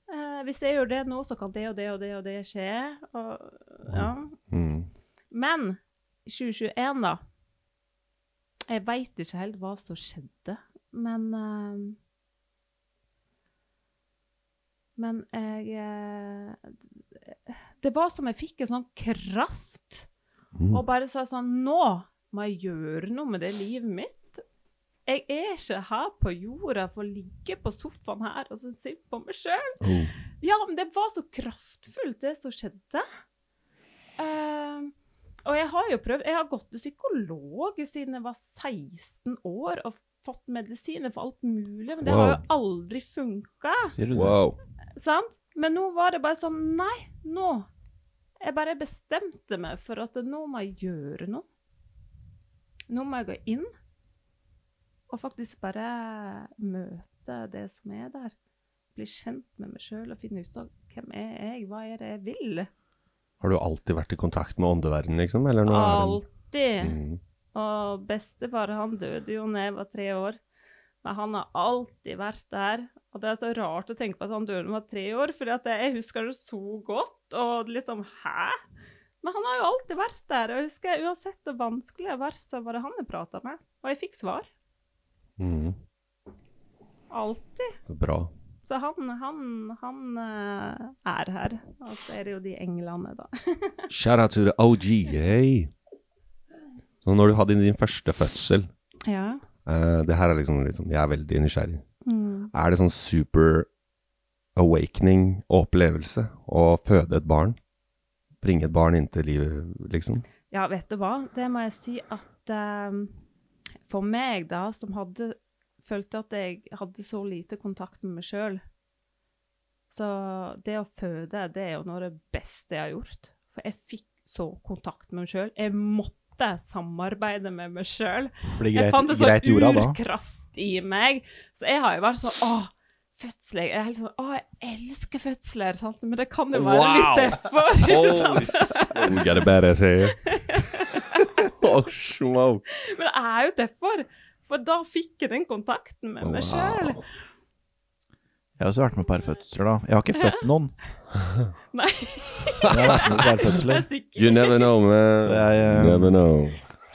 Speaker 5: Eh, hvis jeg gjør det nå, så kan det og det og det og det skje. Og, ja.
Speaker 4: Mm.
Speaker 5: Men i 2021, da Jeg veit ikke helt hva som skjedde, men eh, Men jeg eh, Det var som jeg fikk en sånn kraft. Og bare sa sånn Nå må jeg gjøre noe med det livet mitt. Jeg er ikke her på jorda for å ligge på sofaen her og synes synd på meg sjøl.
Speaker 4: Oh.
Speaker 5: Ja, men det var så kraftfullt, det som skjedde. Eh, og jeg har jo prøvd Jeg har gått til psykolog siden jeg var 16 år og fått medisiner for alt mulig, men det har jo aldri funka.
Speaker 3: Sier du det?
Speaker 4: Wow.
Speaker 5: Sant? Men nå var det bare sånn Nei, nå. Jeg bare bestemte meg for at nå må jeg gjøre noe. Nå må jeg gå inn og faktisk bare møte det som er der. Bli kjent med meg sjøl og finne ut av hvem er jeg, hva er det jeg vil?
Speaker 4: Har du alltid vært i kontakt med åndeverdenen, liksom? Eller nå er den-
Speaker 5: Alltid.
Speaker 4: Mm.
Speaker 5: Og bestefar han døde jo da jeg var tre år. Men han har alltid vært der. Og det er så rart å tenke på at han døde da han var tre år, for jeg husker det så godt. Og liksom Hæ? Men han har jo alltid vært der. Og jeg husker uansett hvor vanskelig det var, så var det han jeg prata med. Og jeg fikk svar.
Speaker 4: Mm.
Speaker 5: Alltid.
Speaker 4: Så Bra.
Speaker 5: Så han, han, han eh, er her. Og så er det jo de englene, da.
Speaker 4: Shout out to the OG. Hey. Så når du hadde din første fødsel
Speaker 5: Ja.
Speaker 4: eh, Det her er liksom, liksom Jeg er veldig nysgjerrig.
Speaker 5: Mm.
Speaker 4: Er det sånn super awakening opplevelse å føde et barn? Bringe et barn inn til livet, liksom?
Speaker 5: Ja, vet du hva? Det må jeg si at eh, for meg, da, som hadde følte at jeg hadde så lite kontakt med meg sjøl Så det å føde, det er jo noe av det beste jeg har gjort. For jeg fikk så kontakt med meg sjøl. Jeg måtte samarbeide med meg sjøl.
Speaker 3: Blir
Speaker 5: Jeg fant
Speaker 3: greit,
Speaker 5: en
Speaker 3: greit jorda
Speaker 5: sånn
Speaker 3: da.
Speaker 5: urkraft i meg. Så jeg har jo vært sånn Åh, fødsler. Jeg er helt sånn Åh, jeg elsker fødsler, sant. Men det kan jo være litt derfor, ikke sant?
Speaker 4: We got a badass here. oh, smoke.
Speaker 5: Men det er jo derfor. For da fikk jeg den kontakten med meg sjøl.
Speaker 3: Jeg har også vært med på et par fødsler, da. Jeg har ikke født noen.
Speaker 5: Nei,
Speaker 3: men Jeg har vært med på et par
Speaker 5: det er
Speaker 3: fødsler.
Speaker 5: sikkert.
Speaker 4: You never know, man.
Speaker 3: Så jeg, eh,
Speaker 4: never know.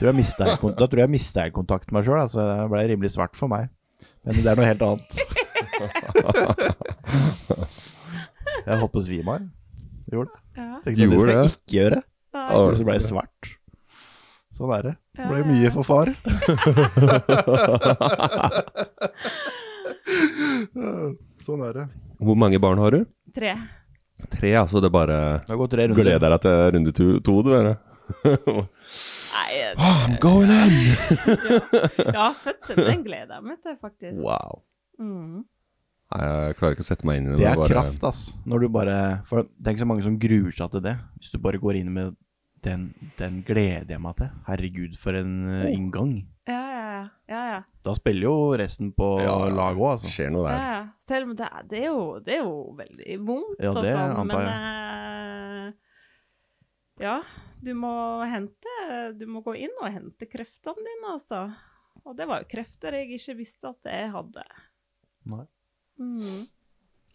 Speaker 3: Tror jeg mistet helt kon- da tror jeg jeg mista helt kontakt med meg sjøl, så det ble rimelig svart for meg. Men det er noe helt annet. Jeg holdt på å svime av. Jeg Gjorde det.
Speaker 5: Ja,
Speaker 3: Tenkte at det
Speaker 4: Gjorde
Speaker 3: skal jeg
Speaker 4: det?
Speaker 3: ikke gjøre.
Speaker 5: nei.
Speaker 3: Og så ble jeg svart. Sånn er det. Det ble mye for far. sånn er det.
Speaker 4: Hvor mange barn har du?
Speaker 5: Tre.
Speaker 4: Tre, altså. Det er bare
Speaker 3: Det har gått tre runder.
Speaker 4: Gleder deg til runde to, to du, eller?
Speaker 5: Nei,
Speaker 4: I'm going in!
Speaker 5: ja, fødselen den gleder jeg meg til, faktisk.
Speaker 4: Wow.
Speaker 5: Mm.
Speaker 4: Nei, jeg klarer ikke å sette meg inn i det.
Speaker 3: Det er
Speaker 4: bare-
Speaker 3: kraft, ass. Når du bare For tenk så mange som gruer seg til det. Hvis du bare går inn med den, den gleder jeg meg til. Herregud, for en eh,
Speaker 4: Oh.
Speaker 3: inngang.
Speaker 5: Ja, ja, ja, ja, ja.
Speaker 3: Da spiller jo resten på
Speaker 4: Ja, ja.
Speaker 3: lag òg, altså.
Speaker 4: Det skjer noe
Speaker 5: ja,
Speaker 4: der.
Speaker 5: ja. Selv om det er, det er, jo, det er jo veldig vondt
Speaker 3: Ja,
Speaker 5: og
Speaker 3: det
Speaker 5: sånn,
Speaker 3: antar
Speaker 5: men eh, Ja, du må hente Du må gå inn og hente kreftene dine, altså. Og det var jo krefter jeg ikke visste at jeg hadde.
Speaker 3: Nei.
Speaker 5: Mm.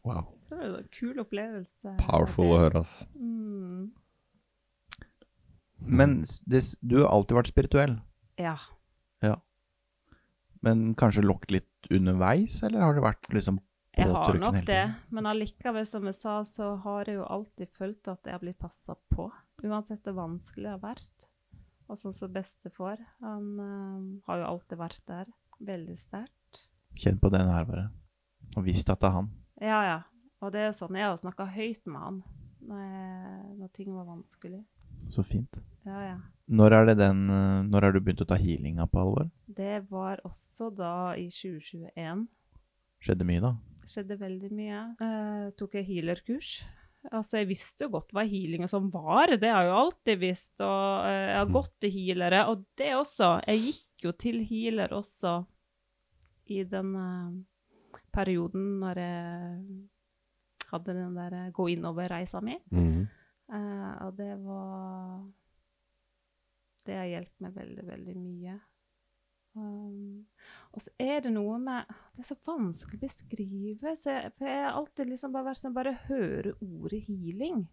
Speaker 4: Wow.
Speaker 5: Så det er jo en kul opplevelse.
Speaker 4: Powerful å høre, altså. ass.
Speaker 5: Mm.
Speaker 3: Men s- det, s- du har alltid vært spirituell.
Speaker 5: Ja.
Speaker 3: Men kanskje lokket litt underveis, eller har det vært liksom
Speaker 5: Jeg har
Speaker 3: påtrykkende hele
Speaker 5: nok det,
Speaker 3: tiden?
Speaker 5: men allikevel, som jeg sa, så har jeg jo alltid følt at jeg har blitt passa på. Uansett hvor vanskelig det har vært. Og sånn som bestefar, han eh, har jo alltid vært der. Veldig sterkt.
Speaker 3: Kjenn på den her, bare. Og visst at det er han.
Speaker 5: Ja, ja. Og det er jo sånn, jeg har jo snakka høyt med han når, jeg, når ting var vanskelig.
Speaker 3: Så fint.
Speaker 5: Ja, ja.
Speaker 3: Når er det den eh, Når har du begynt å ta healinga på alvor?
Speaker 5: Det var også da i 2021.
Speaker 3: Skjedde mye, da?
Speaker 5: skjedde veldig mye. Eh, tok jeg healerkurs. Altså, jeg visste jo godt hva healing og sånn var, det har jeg jo alltid visst. Og eh, jeg har gått til healere, og det også. Jeg gikk jo til healer også i den eh, perioden når jeg hadde den der eh, gå innover-reisa mi.
Speaker 4: Mhm.
Speaker 5: Eh, og det var Det har hjulpet meg veldig, veldig mye. Um, og så er det noe med Det er så vanskelig å beskrive. Så jeg, for jeg har alltid liksom bare vært sånn Bare høre ordet healing,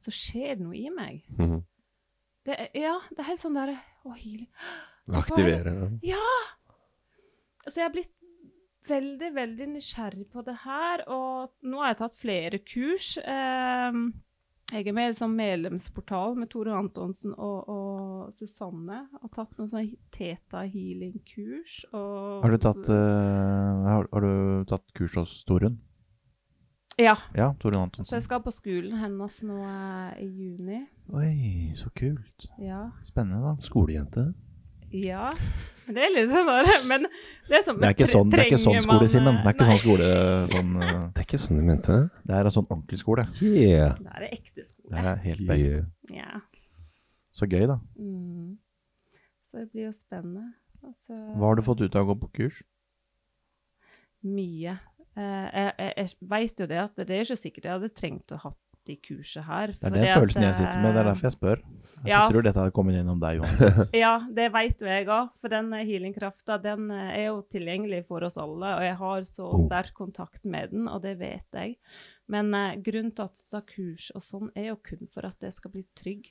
Speaker 5: så skjer det noe i meg.
Speaker 4: Mhm.
Speaker 5: Det er, ja, det er helt sånn derre Å, healing
Speaker 4: Aktivere.
Speaker 5: Så jeg har blitt veldig, veldig nysgjerrig på det her, og nå har jeg tatt flere kurs. Ehm, jeg er med i en sånn medlemsportal med Tore Antonsen og, og Susanne. Har tatt noen sånn Teta healing-kurs. og-
Speaker 3: Har du tatt, eh, har, har du tatt kurs hos Torunn?
Speaker 5: Ja.
Speaker 3: Ja, Torunn
Speaker 5: Så jeg
Speaker 3: Antonsen.
Speaker 5: skal på skolen hennes nå eh, i juni.
Speaker 3: Oi, så kult.
Speaker 5: Ja.
Speaker 3: Spennende, da.
Speaker 4: Skolejente.
Speaker 5: Ja, men det er litt sånn der, men det er, sånn,
Speaker 3: Det er ikke
Speaker 5: tre-
Speaker 3: sånn, det er ikke sånn
Speaker 5: trenger
Speaker 3: skole,
Speaker 5: man, eh,
Speaker 3: Simen. Det er ikke
Speaker 5: nei,
Speaker 3: sånn skole sånn, eh,
Speaker 4: Det er ikke sånn de mente det.
Speaker 3: Det er en sånn ordentlig skole.
Speaker 4: Yeah.
Speaker 5: Det er ekte skole.
Speaker 3: sånn- Det er helt
Speaker 4: Yeah.
Speaker 5: Ja.
Speaker 3: Så gøy, da.
Speaker 5: Mm. Så det blir jo spennende. Altså,
Speaker 3: Hva har du fått ut av å gå på kurs?
Speaker 5: Mye. Eh, jeg jeg, jeg veit jo det at det er ikke sikkert jeg hadde trengt å hatt de kurset her.
Speaker 3: Det er den følelsen jeg sitter med. Det er derfor jeg spør. Jeg
Speaker 5: Ja.
Speaker 3: tror dette hadde kommet gjennom deg uansett.
Speaker 5: Ja, det veit jo jeg òg. For den healingkrafta den eh, er jo tilgjengelig for oss alle. Og jeg har så
Speaker 3: Oh.
Speaker 5: sterk kontakt med den, og det vet jeg. Men eh, grunnen til at jeg tar kurs og sånn, er jo kun for at jeg skal bli trygg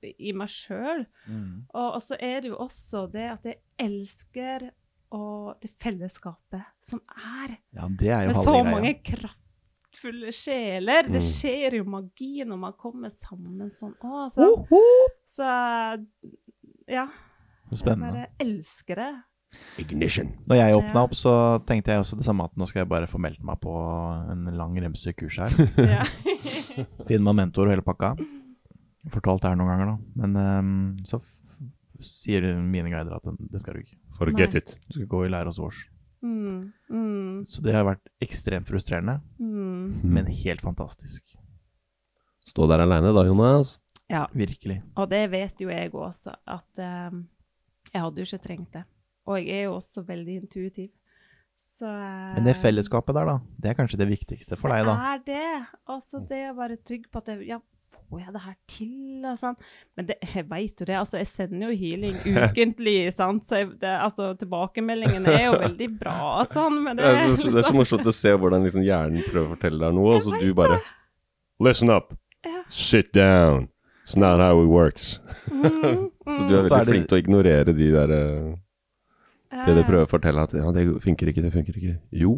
Speaker 5: i meg sjøl.
Speaker 3: Mm.
Speaker 5: Og, og så er det jo også det at jeg elsker å, det fellesskapet som er.
Speaker 3: Ja, det er jo
Speaker 5: Med
Speaker 3: halve
Speaker 5: så
Speaker 3: greia. Mm.
Speaker 5: mange kraftfulle sjeler. Det skjer jo magi når man kommer sammen sånn. Å, så, så ja.
Speaker 3: Så
Speaker 5: Jeg
Speaker 3: Spennende.
Speaker 5: bare elsker det.
Speaker 4: Ignition.
Speaker 3: Når jeg åpna opp, så tenkte jeg også det samme at nå skal jeg bare få meldt meg på en lang remse kurs her.
Speaker 5: Ja.
Speaker 3: Finne meg mentor og hele pakka. Fortalt det her noen ganger, da. Men ehm, så f f sier mine guider at den- det skal du ikke.
Speaker 6: Forget
Speaker 5: Nei.
Speaker 6: it.
Speaker 3: Du skal gå i lære hos vårs.
Speaker 5: Mm, mm,
Speaker 3: Så det har vært ekstremt frustrerende,
Speaker 5: mm.
Speaker 3: men helt fantastisk.
Speaker 4: Stå der aleine da, Jonas.
Speaker 5: ja.
Speaker 3: Virkelig.
Speaker 5: Og det vet jo jeg også, at eh, jeg hadde jo ikke trengt det. Og jeg er jo også veldig intuitiv. Så, eh,
Speaker 3: Men det fellesskapet der, da. Det er kanskje det viktigste for deg, da.
Speaker 5: er det.
Speaker 4: Mm.
Speaker 5: Altså, det å være trygg på at jeg, ja, får jeg det her til? Og sånn. Men det, jeg veit jo det. Altså, jeg sender jo healing ukentlig, sant? så jeg, det, altså, tilbakemeldingene er jo veldig bra og sånn. Men
Speaker 4: Det
Speaker 5: det,
Speaker 4: er, så, det er så
Speaker 5: liksom-
Speaker 4: morsomt å se hvordan liksom hjernen prøver å fortelle deg noe, og så du bare
Speaker 6: Listen up.
Speaker 5: Ja.
Speaker 6: Sit down. It's not how it works.
Speaker 5: Mm.
Speaker 4: Så du er
Speaker 3: Mm. Så er
Speaker 4: veldig
Speaker 3: det-
Speaker 4: flink til å ignorere de der eh, Det de prøver å fortelle at ja, det funker ikke, det funker ikke. Jo,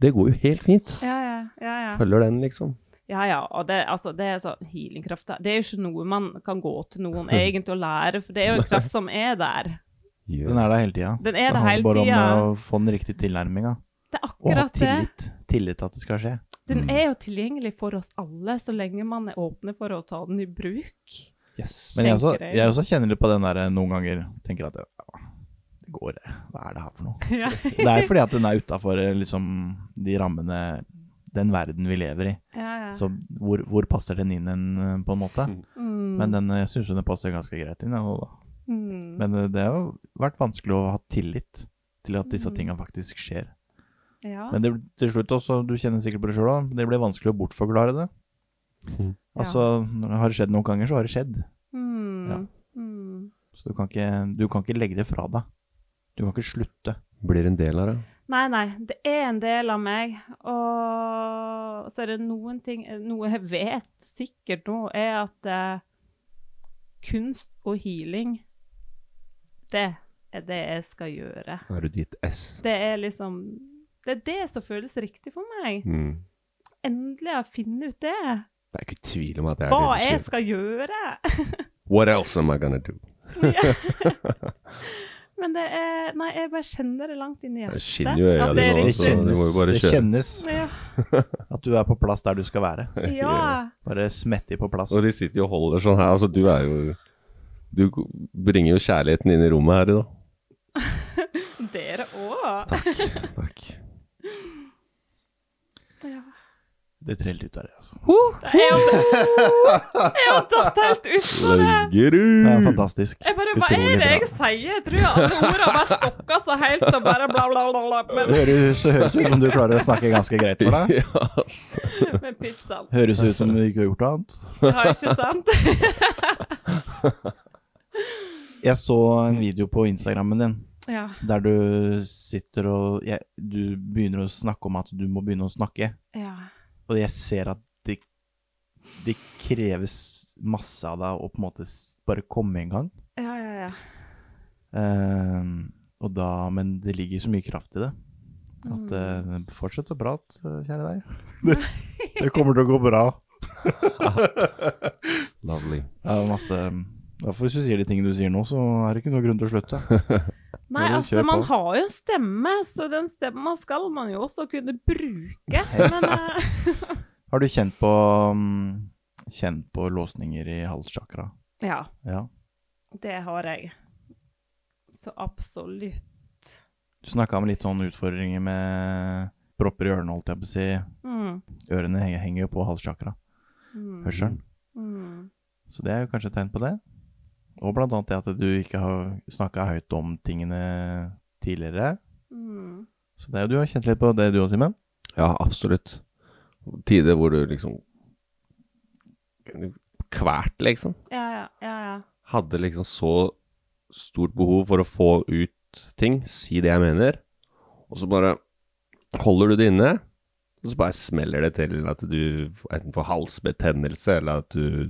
Speaker 4: det går jo helt fint.
Speaker 5: ja, ja, ja, ja.
Speaker 4: Følger den, liksom.
Speaker 5: Ja, ja. Og det, altså, det er så healingkraft. da. Det er jo ikke noe man kan gå til noen egentlig og lære, for det er jo en kraft som er der.
Speaker 4: Yeah.
Speaker 3: Den er der hele tida.
Speaker 5: Den er
Speaker 3: det
Speaker 5: der hele
Speaker 3: handler bare om
Speaker 5: tida.
Speaker 3: eh, å få den riktige tilnærminga.
Speaker 5: Det er
Speaker 3: Og ha
Speaker 5: akkurat det.
Speaker 3: tillit. Tillit til at det skal skje.
Speaker 5: Den
Speaker 4: Mm.
Speaker 5: er jo tilgjengelig for oss alle, så lenge man er åpne for å ta den i bruk.
Speaker 3: Men jeg også,
Speaker 5: Tenker jeg.
Speaker 3: jeg også kjenner litt på den der eh, noen ganger tenker at ja, det går, det. hva er det her for noe?
Speaker 5: Ja.
Speaker 3: Det er fordi at den er utafor liksom, de rammene, den verden vi lever i.
Speaker 5: Ja, ja.
Speaker 3: Så hvor, hvor passer den inn en, eh, på en måte? Men den, eh, jeg syns den passer ganske greit inn. jeg nå, da.
Speaker 5: Mm,
Speaker 3: Men eh, det har jo vært vanskelig å ha tillit til at disse tinga faktisk skjer.
Speaker 5: Mm. ja.
Speaker 3: Men det, til slutt også, du kjenner sikkert på det sjøl òg, det blir vanskelig å bortforklare det. Altså, når det har skjedd noen ganger, så har det skjedd.
Speaker 5: Mm,
Speaker 3: Ja.
Speaker 5: mm.
Speaker 3: Så du kan ikke, du kan ikke legge det fra deg. Du kan ikke slutte.
Speaker 4: Blir en del av det.
Speaker 5: Nei, nei. Det er en del av meg. Og så er det noen ting Noe jeg vet sikkert nå, er at eh, kunst og healing Det er det jeg skal gjøre.
Speaker 4: Da er du ditt S.
Speaker 5: Det er liksom Det er det som føles riktig for meg.
Speaker 4: Mm.
Speaker 5: Endelig har jeg funnet ut det.
Speaker 4: Det er ikke tvil om at det er
Speaker 5: Hva
Speaker 4: det du
Speaker 5: jeg
Speaker 4: skal.
Speaker 5: skal gjøre.
Speaker 4: What else am I gonna do?
Speaker 5: Men det er Nei, jeg bare kjenner det langt inn i hjertet.
Speaker 4: Det skinner jo i øya
Speaker 5: at det er
Speaker 4: dine nå,
Speaker 3: Det
Speaker 4: så
Speaker 5: riktig.
Speaker 4: Altså, du må jo bare
Speaker 3: kjennes, det
Speaker 4: kjøre.
Speaker 3: kjennes
Speaker 5: Ja.
Speaker 3: at du er på plass der du skal være.
Speaker 5: ja.
Speaker 3: Bare smettig på plass.
Speaker 4: Og de sitter jo og holder sånn her. Altså, du er jo Du bringer jo kjærligheten inn i rommet her i dag.
Speaker 5: Dere òg.
Speaker 4: Takk. Takk.
Speaker 5: Ja.
Speaker 3: Det treller ut der, altså.
Speaker 5: Jeg har jeg har tatt helt ut på det.
Speaker 3: Det er
Speaker 4: Røsgerud!
Speaker 3: fantastisk.
Speaker 5: Mm. Jeg bare, Hva er det jeg sier? Jeg tror alle ordene bare stokka seg helt og bare bla, bla, bla. bla
Speaker 3: Det
Speaker 5: men,
Speaker 3: høres, høres ut som du klarer å snakke ganske greit for deg.
Speaker 4: Ja, altså.
Speaker 5: men pizzaen.
Speaker 3: Høres ut som du ikke har gjort noe annet.
Speaker 5: Ja, ikke sant?
Speaker 3: Jeg så en video på Instagrammen din
Speaker 5: Ja.
Speaker 3: der du sitter og jeg, Du begynner å snakke om at du må begynne å snakke.
Speaker 5: ja.
Speaker 3: Og jeg ser at det, det kreves masse av deg å på en måte s- bare komme i gang.
Speaker 5: Ja, ja, ja.
Speaker 3: Ehm, og da, men det ligger så mye kraft i det. At eh, fortsett å prate, eh, kjære deg. Det, det kommer til å gå bra.
Speaker 4: Lovely.
Speaker 3: Det er masse Derfor hvis du sier de tingene du sier nå, så er det ikke noe grunn til å slutte.
Speaker 5: Nei,
Speaker 3: Bare
Speaker 5: altså,
Speaker 3: kjør på.
Speaker 5: man har jo en stemme, så den stemma skal man jo også kunne bruke. Men eh,
Speaker 3: Har du kjent på mm, Kjent
Speaker 5: eh,
Speaker 3: på låsninger i halschakra?
Speaker 5: ja,
Speaker 3: Ja.
Speaker 5: det har jeg. Så absolutt.
Speaker 3: Du snakka om litt sånne utfordringer med propper i ørene, holdt jeg på å si.
Speaker 5: Mm.
Speaker 3: Ørene he- henger jo på halssjakra,
Speaker 5: Mm.
Speaker 3: hørselen.
Speaker 5: Mm.
Speaker 3: Så det er jo kanskje et tegn på det. Og blant annet det at du ikke har snakka høyt om tingene tidligere.
Speaker 5: Mm.
Speaker 3: Så det er jo du har kjent litt på det du òg, Simen.
Speaker 4: Ja, absolutt. Tider hvor du liksom Kvært, liksom.
Speaker 5: Ja, ja, ja, ja.
Speaker 4: Hadde liksom så stort behov for å få ut ting, si det jeg mener, og så bare holder du det inne, og så bare smeller det til at du enten får halsbetennelse, eller at du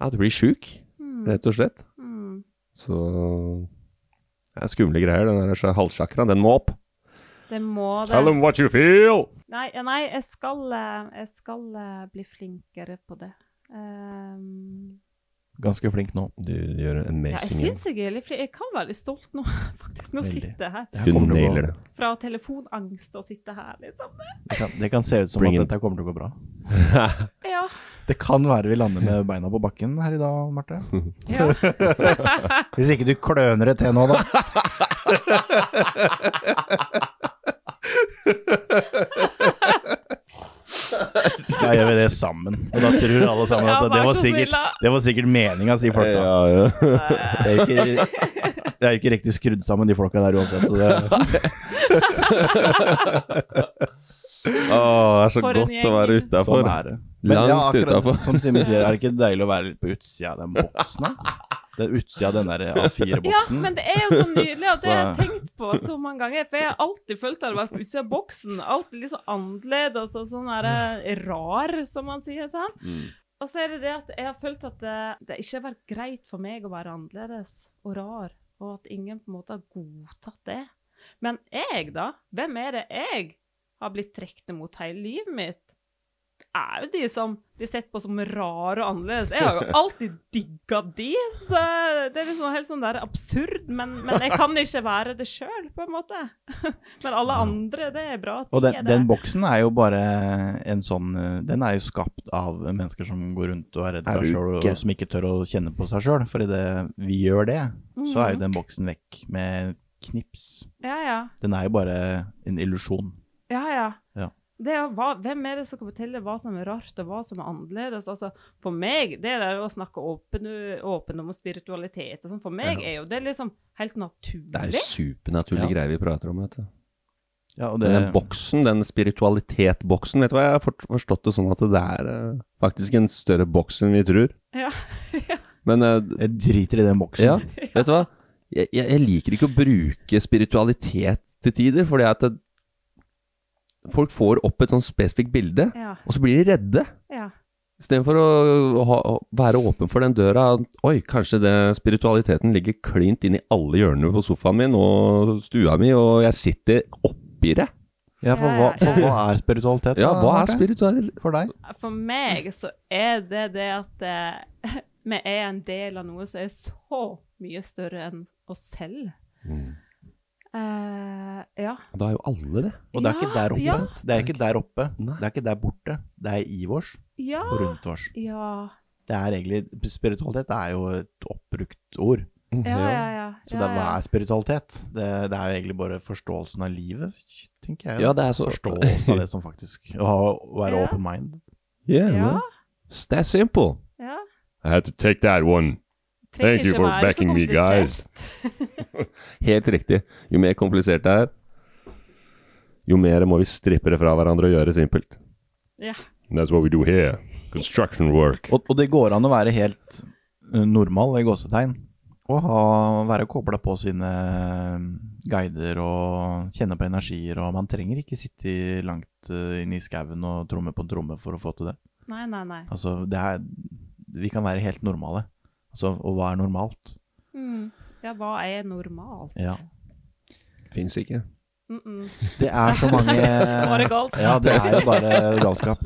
Speaker 4: Ja, du blir sjuk, rett og slett.
Speaker 5: Mm.
Speaker 4: Så det er skumle greier, den der halssjakraen. Den må opp.
Speaker 5: Det må
Speaker 6: Tell
Speaker 5: det.
Speaker 6: them what you feel!
Speaker 5: Nei, ja, nei jeg, skal, eh, jeg skal eh, bli flinkere på det. Ehm,
Speaker 3: Ganske flink nå.
Speaker 4: Du gjør en
Speaker 5: ja, jeg
Speaker 4: amazing jobb.
Speaker 5: syns jeg er litt flink. Jeg kan være litt stolt nå, faktisk. Nå
Speaker 3: Veldig.
Speaker 5: sitter jeg her.
Speaker 3: Det her
Speaker 4: Du
Speaker 3: kommer til å gå-
Speaker 4: nailer det.
Speaker 5: Fra telefonangst og sitte her, liksom.
Speaker 3: Det kan, det kan se ut som
Speaker 4: Bring
Speaker 3: at
Speaker 4: it.
Speaker 3: dette kommer til å gå bra.
Speaker 5: Ja.
Speaker 3: Det kan være vi lander med beina på bakken her i dag, Marte.
Speaker 5: ja.
Speaker 3: Hvis ikke du kløner det til nå, da. Da gjør vi det sammen. Og da tror alle sammen
Speaker 5: Ja,
Speaker 3: at det
Speaker 5: vær
Speaker 3: var
Speaker 5: så
Speaker 3: sikkert,
Speaker 5: snill, da.
Speaker 3: det var sikkert meninga, sier folk da. Det er jo ikke, det er jo ikke riktig skrudd sammen, de folka der uansett. Så det,
Speaker 4: Å, det er så
Speaker 5: For en
Speaker 4: godt å
Speaker 5: gjeng.
Speaker 4: være utafor.
Speaker 3: sånn er det.
Speaker 4: Langt
Speaker 3: akkurat
Speaker 4: utenfor.
Speaker 3: Som Simen sier, er det ikke deilig å være litt på utsida av den boksen? da? Det er utsida av den der
Speaker 5: ja,
Speaker 3: A4-boksen.
Speaker 5: men det er jo så nydelig, og det har jeg
Speaker 3: Så-
Speaker 5: tenkt på så mange ganger. For jeg har alltid følt at jeg har vært på utsida av boksen. Alltid litt sånn annerledes og sånn derre rar, som man sier sånn. Og så er det det at jeg har følt at det, det ikke har vært greit for meg å være annerledes og rar, og at ingen på en måte har godtatt det. Men jeg, da? Hvem er det jeg har blitt trukket mot hele livet mitt? Det er jo de som blir sett på som rare og annerledes. Jeg har jo alltid digga de, så det er liksom helt sånn der absurd. Men, men jeg kan ikke være det sjøl, på en måte. Men alle andre, det er bra at
Speaker 3: Og
Speaker 5: de
Speaker 3: den,
Speaker 5: er det.
Speaker 3: den boksen er jo bare en sånn eh, Den er jo skapt av mennesker som går rundt og er redd
Speaker 4: Er
Speaker 3: for
Speaker 4: du
Speaker 3: seg sjøl, og
Speaker 4: gæren?
Speaker 3: som ikke tør å kjenne på seg sjøl. For idet vi gjør det, så er
Speaker 5: Mhm.
Speaker 3: jo den boksen vekk med knips.
Speaker 5: Ja, ja.
Speaker 3: Den er jo bare en illusjon.
Speaker 5: Ja, ja.
Speaker 3: Ja.
Speaker 5: Det er, jo hva, hvem er det som kan fortelle hva som er rart, og hva som er annerledes? Altså, for meg det er det å snakke åpen, åpen om spiritualitet og sånn. For meg
Speaker 3: Ja.
Speaker 5: er jo det liksom helt
Speaker 4: Det er
Speaker 5: naturlig.
Speaker 4: jo supernaturlige
Speaker 3: Ja.
Speaker 4: greier vi prater om, vet du.
Speaker 3: Ja, og
Speaker 4: Men
Speaker 3: det,
Speaker 4: Den boksen, den spiritualitetboksen, vet du hva, jeg har fort- forstått det sånn at det er eh, faktisk en større boks enn vi tror.
Speaker 5: Ja.
Speaker 4: Men eh,
Speaker 3: jeg driter i den boksen.
Speaker 4: ja, vet du hva, jeg, jeg, jeg liker ikke å bruke spiritualitet til tider, fordi at det, folk får opp et sånn spesifikt bilde,
Speaker 5: Ja,
Speaker 4: og så blir de redde.
Speaker 5: ja.
Speaker 4: Istedenfor å, ha, å være åpen for den døra Oi, kanskje det, spiritualiteten ligger klint inn i alle hjørnene på sofaen min og stua mi, og jeg sitter oppi det.
Speaker 3: Ja, for hva, for hva er spiritualitet?
Speaker 4: Ja,
Speaker 3: da,
Speaker 4: hva er
Speaker 3: Marte?
Speaker 4: spiritualitet?
Speaker 3: for deg?
Speaker 5: For meg så er det det at eh, vi er en del av noe som er så mye større enn oss selv. Eh, ja.
Speaker 4: Mm. Da er jo alle det.
Speaker 3: Og det er ikke der oppe.
Speaker 5: Ja,
Speaker 3: sant? Det er ikke der oppe.
Speaker 4: Nei.
Speaker 3: Det er ikke der borte. Det er i vårs
Speaker 5: Ja.
Speaker 3: og rundt vårs.
Speaker 5: Ja.
Speaker 3: Det er egentlig Spiritualitet er jo et oppbrukt ord.
Speaker 4: Mm.
Speaker 5: Ja, ja, ja.
Speaker 3: Så
Speaker 5: ja,
Speaker 3: det, hva
Speaker 5: ja.
Speaker 3: er spiritualitet? Det, det er jo egentlig bare forståelsen av livet, tenker jeg.
Speaker 4: Ja, det er så-
Speaker 3: Forståelsen av det som faktisk Å ha- å være
Speaker 5: Ja.
Speaker 3: open mind.
Speaker 4: Yeah,
Speaker 5: Ja.
Speaker 4: man. Stay simple.
Speaker 5: ja.
Speaker 6: I had to take that one.
Speaker 5: Trenger
Speaker 6: Thank you
Speaker 5: ikke
Speaker 6: for
Speaker 5: være så
Speaker 6: backing me, guys.
Speaker 5: komplisert.
Speaker 4: Helt riktig. Jo mer komplisert det er, jo mer må vi strippe det fra hverandre og gjøre det simpelt.
Speaker 5: Ja.
Speaker 6: And that's what we do here. Construction work.
Speaker 3: Og, og det går an å være helt eh, normal, i gåsetegn, og ha, være kobla på sine eh, guider og kjenne på energier, og man trenger ikke sitte langt eh, inne i skauen og tromme på en tromme for å få til det.
Speaker 5: Nei, nei, nei.
Speaker 3: Altså, det er Vi kan være helt normale. Altså, og hva er normalt?
Speaker 5: Mm. Ja, hva er normalt?
Speaker 3: Ja.
Speaker 4: Fins ikke.
Speaker 5: Mm -mm.
Speaker 3: Det er så mange
Speaker 5: Var det galt?
Speaker 3: Ja, det er jo bare galskap.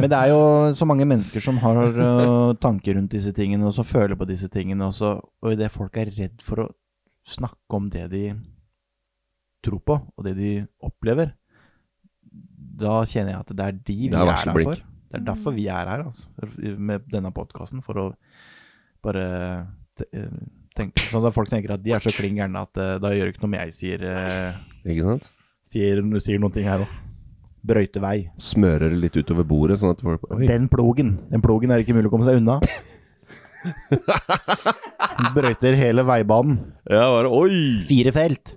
Speaker 3: Men det er jo så mange mennesker som har øh, tanker rundt disse tingene, og som føler på disse tingene. Og, så, og i det folk er redd for å snakke om det de tror på, og det de opplever, da kjenner jeg at det er de vi
Speaker 4: Det er
Speaker 3: er, her
Speaker 4: varselblink.
Speaker 3: for. Det er derfor vi er her, altså, med denne podkasten. For å bare t- eh, tenk, sånn at folk tenker at de er så klin gærne at eh, da gjør det ikke noe om jeg sier, eh,
Speaker 4: Ikke sant?
Speaker 3: sier, sier noen ting her òg. Brøyte vei.
Speaker 4: Smører det litt utover bordet, sånn at folk Oi,
Speaker 3: Den plogen. Den plogen er det ikke mulig å komme seg unna. Den Brøyter hele veibanen.
Speaker 4: ja, bare, oi!
Speaker 3: Fire felt.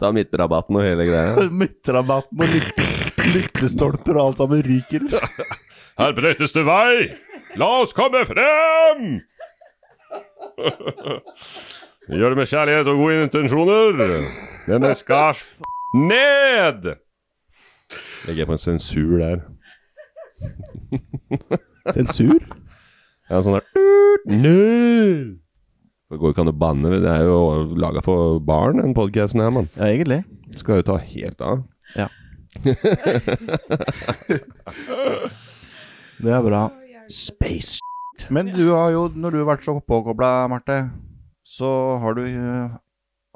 Speaker 4: Ta midtrabatten og hele greia.
Speaker 3: Midtrabatten og lykt- lyktestolper og alt sammen ryker.
Speaker 6: Her brøytes det vei! La oss komme frem! Vi gjør det med kjærlighet og gode intensjoner. Denne skars ned!
Speaker 4: Legger jeg på en sensur der.
Speaker 3: Sensur?
Speaker 4: Ja, sånn der Ned! Det går jo ikke an å banne. Det er jo laga for barn, den podkasten her, mann.
Speaker 3: Ja, egentlig.
Speaker 4: Skal jo ta helt av.
Speaker 3: Ja. det er bra.
Speaker 4: Space
Speaker 3: Men du har jo, når du har vært så påkobla, Marte, så har du eh,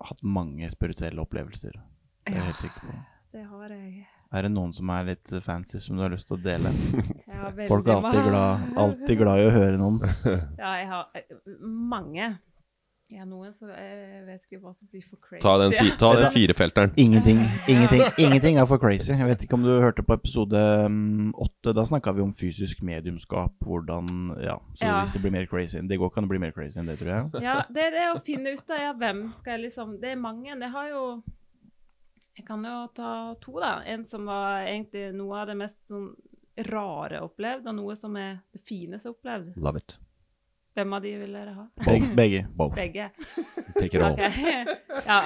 Speaker 3: hatt mange spirituelle opplevelser. Det er jeg helt sikker på.
Speaker 5: Det har jeg.
Speaker 3: Er det noen som er litt fancy, som du har lyst til å dele?
Speaker 5: jeg har veldig
Speaker 3: Folk er alltid
Speaker 5: mange-
Speaker 3: glad, alltid glad i å høre noen.
Speaker 5: Ja, jeg har eh, mange. Jeg har noen som Jeg vet ikke hva som blir for crazy.
Speaker 4: Ta den, fi, ta den firefelteren.
Speaker 3: Ingenting. Ingenting Ingenting er for crazy. Jeg vet ikke om du hørte på episode mm, åtte. Da snakka vi om fysisk mediumskap, hvordan Ja, så
Speaker 5: Ja.
Speaker 3: hvis det blir mer crazy Det går ikke an å bli mer crazy enn det, tror jeg.
Speaker 5: Ja, det er det å finne ut av ja, hvem skal jeg liksom Det er mange. Jeg har jo Jeg kan jo ta to, da. En som var egentlig noe av det mest sånn rare opplevd, og noe som er det fineste opplevd.
Speaker 4: Love it.
Speaker 5: Hvem av de vil dere ha?
Speaker 3: Begge. Begge.
Speaker 5: Begge.
Speaker 4: Take it all.
Speaker 5: Ok. Ja,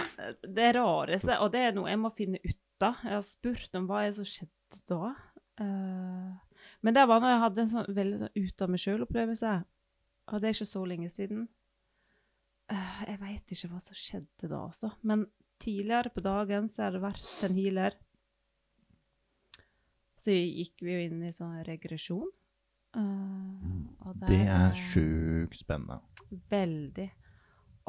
Speaker 5: det rareste, og det er noe jeg må finne ut av. Jeg har spurt om hva er det som skjedde da. Eh, men det var når jeg hadde en sånn veldig sånn ut-av-meg-sjøl-opplevelse. Og det er ikke så lenge siden. Eh, jeg veit ikke hva som skjedde da, altså. Men tidligere på dagen så har det vært en healer. Så gikk vi jo inn i sånn regresjon. Eh, og der,
Speaker 3: Det er
Speaker 5: eh,
Speaker 3: sjukt spennende.
Speaker 5: Veldig.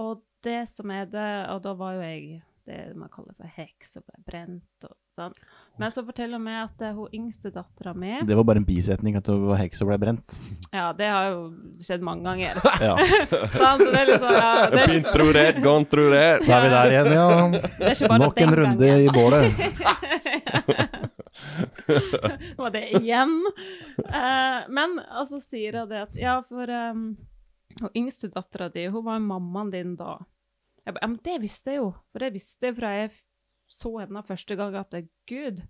Speaker 5: Og det som er det Og da var jo jeg det man kaller for heks, og ble brent og sånn. Men så forteller hun meg at eh, hun yngste dattera mi
Speaker 3: Det var bare en bisetning at du var heks og ble brent.
Speaker 5: Ja, det har jo skjedd mange ganger.
Speaker 3: Ja,
Speaker 5: Sånn, så det er liksom ja, det, er
Speaker 4: Been
Speaker 5: ikke,
Speaker 4: through that, gone through that.
Speaker 3: Da er vi der igjen, ja.
Speaker 5: det er ikke bare
Speaker 3: Nok en runde i bålet.
Speaker 5: Det var det igjen. Eh, men altså sier hun det at Ja, for um, og yngstedattera di, hun var mammaen din da. Jeg ba, ja, men det visste jeg jo. For det visste jeg fra jeg f- så henne første gang at Gud,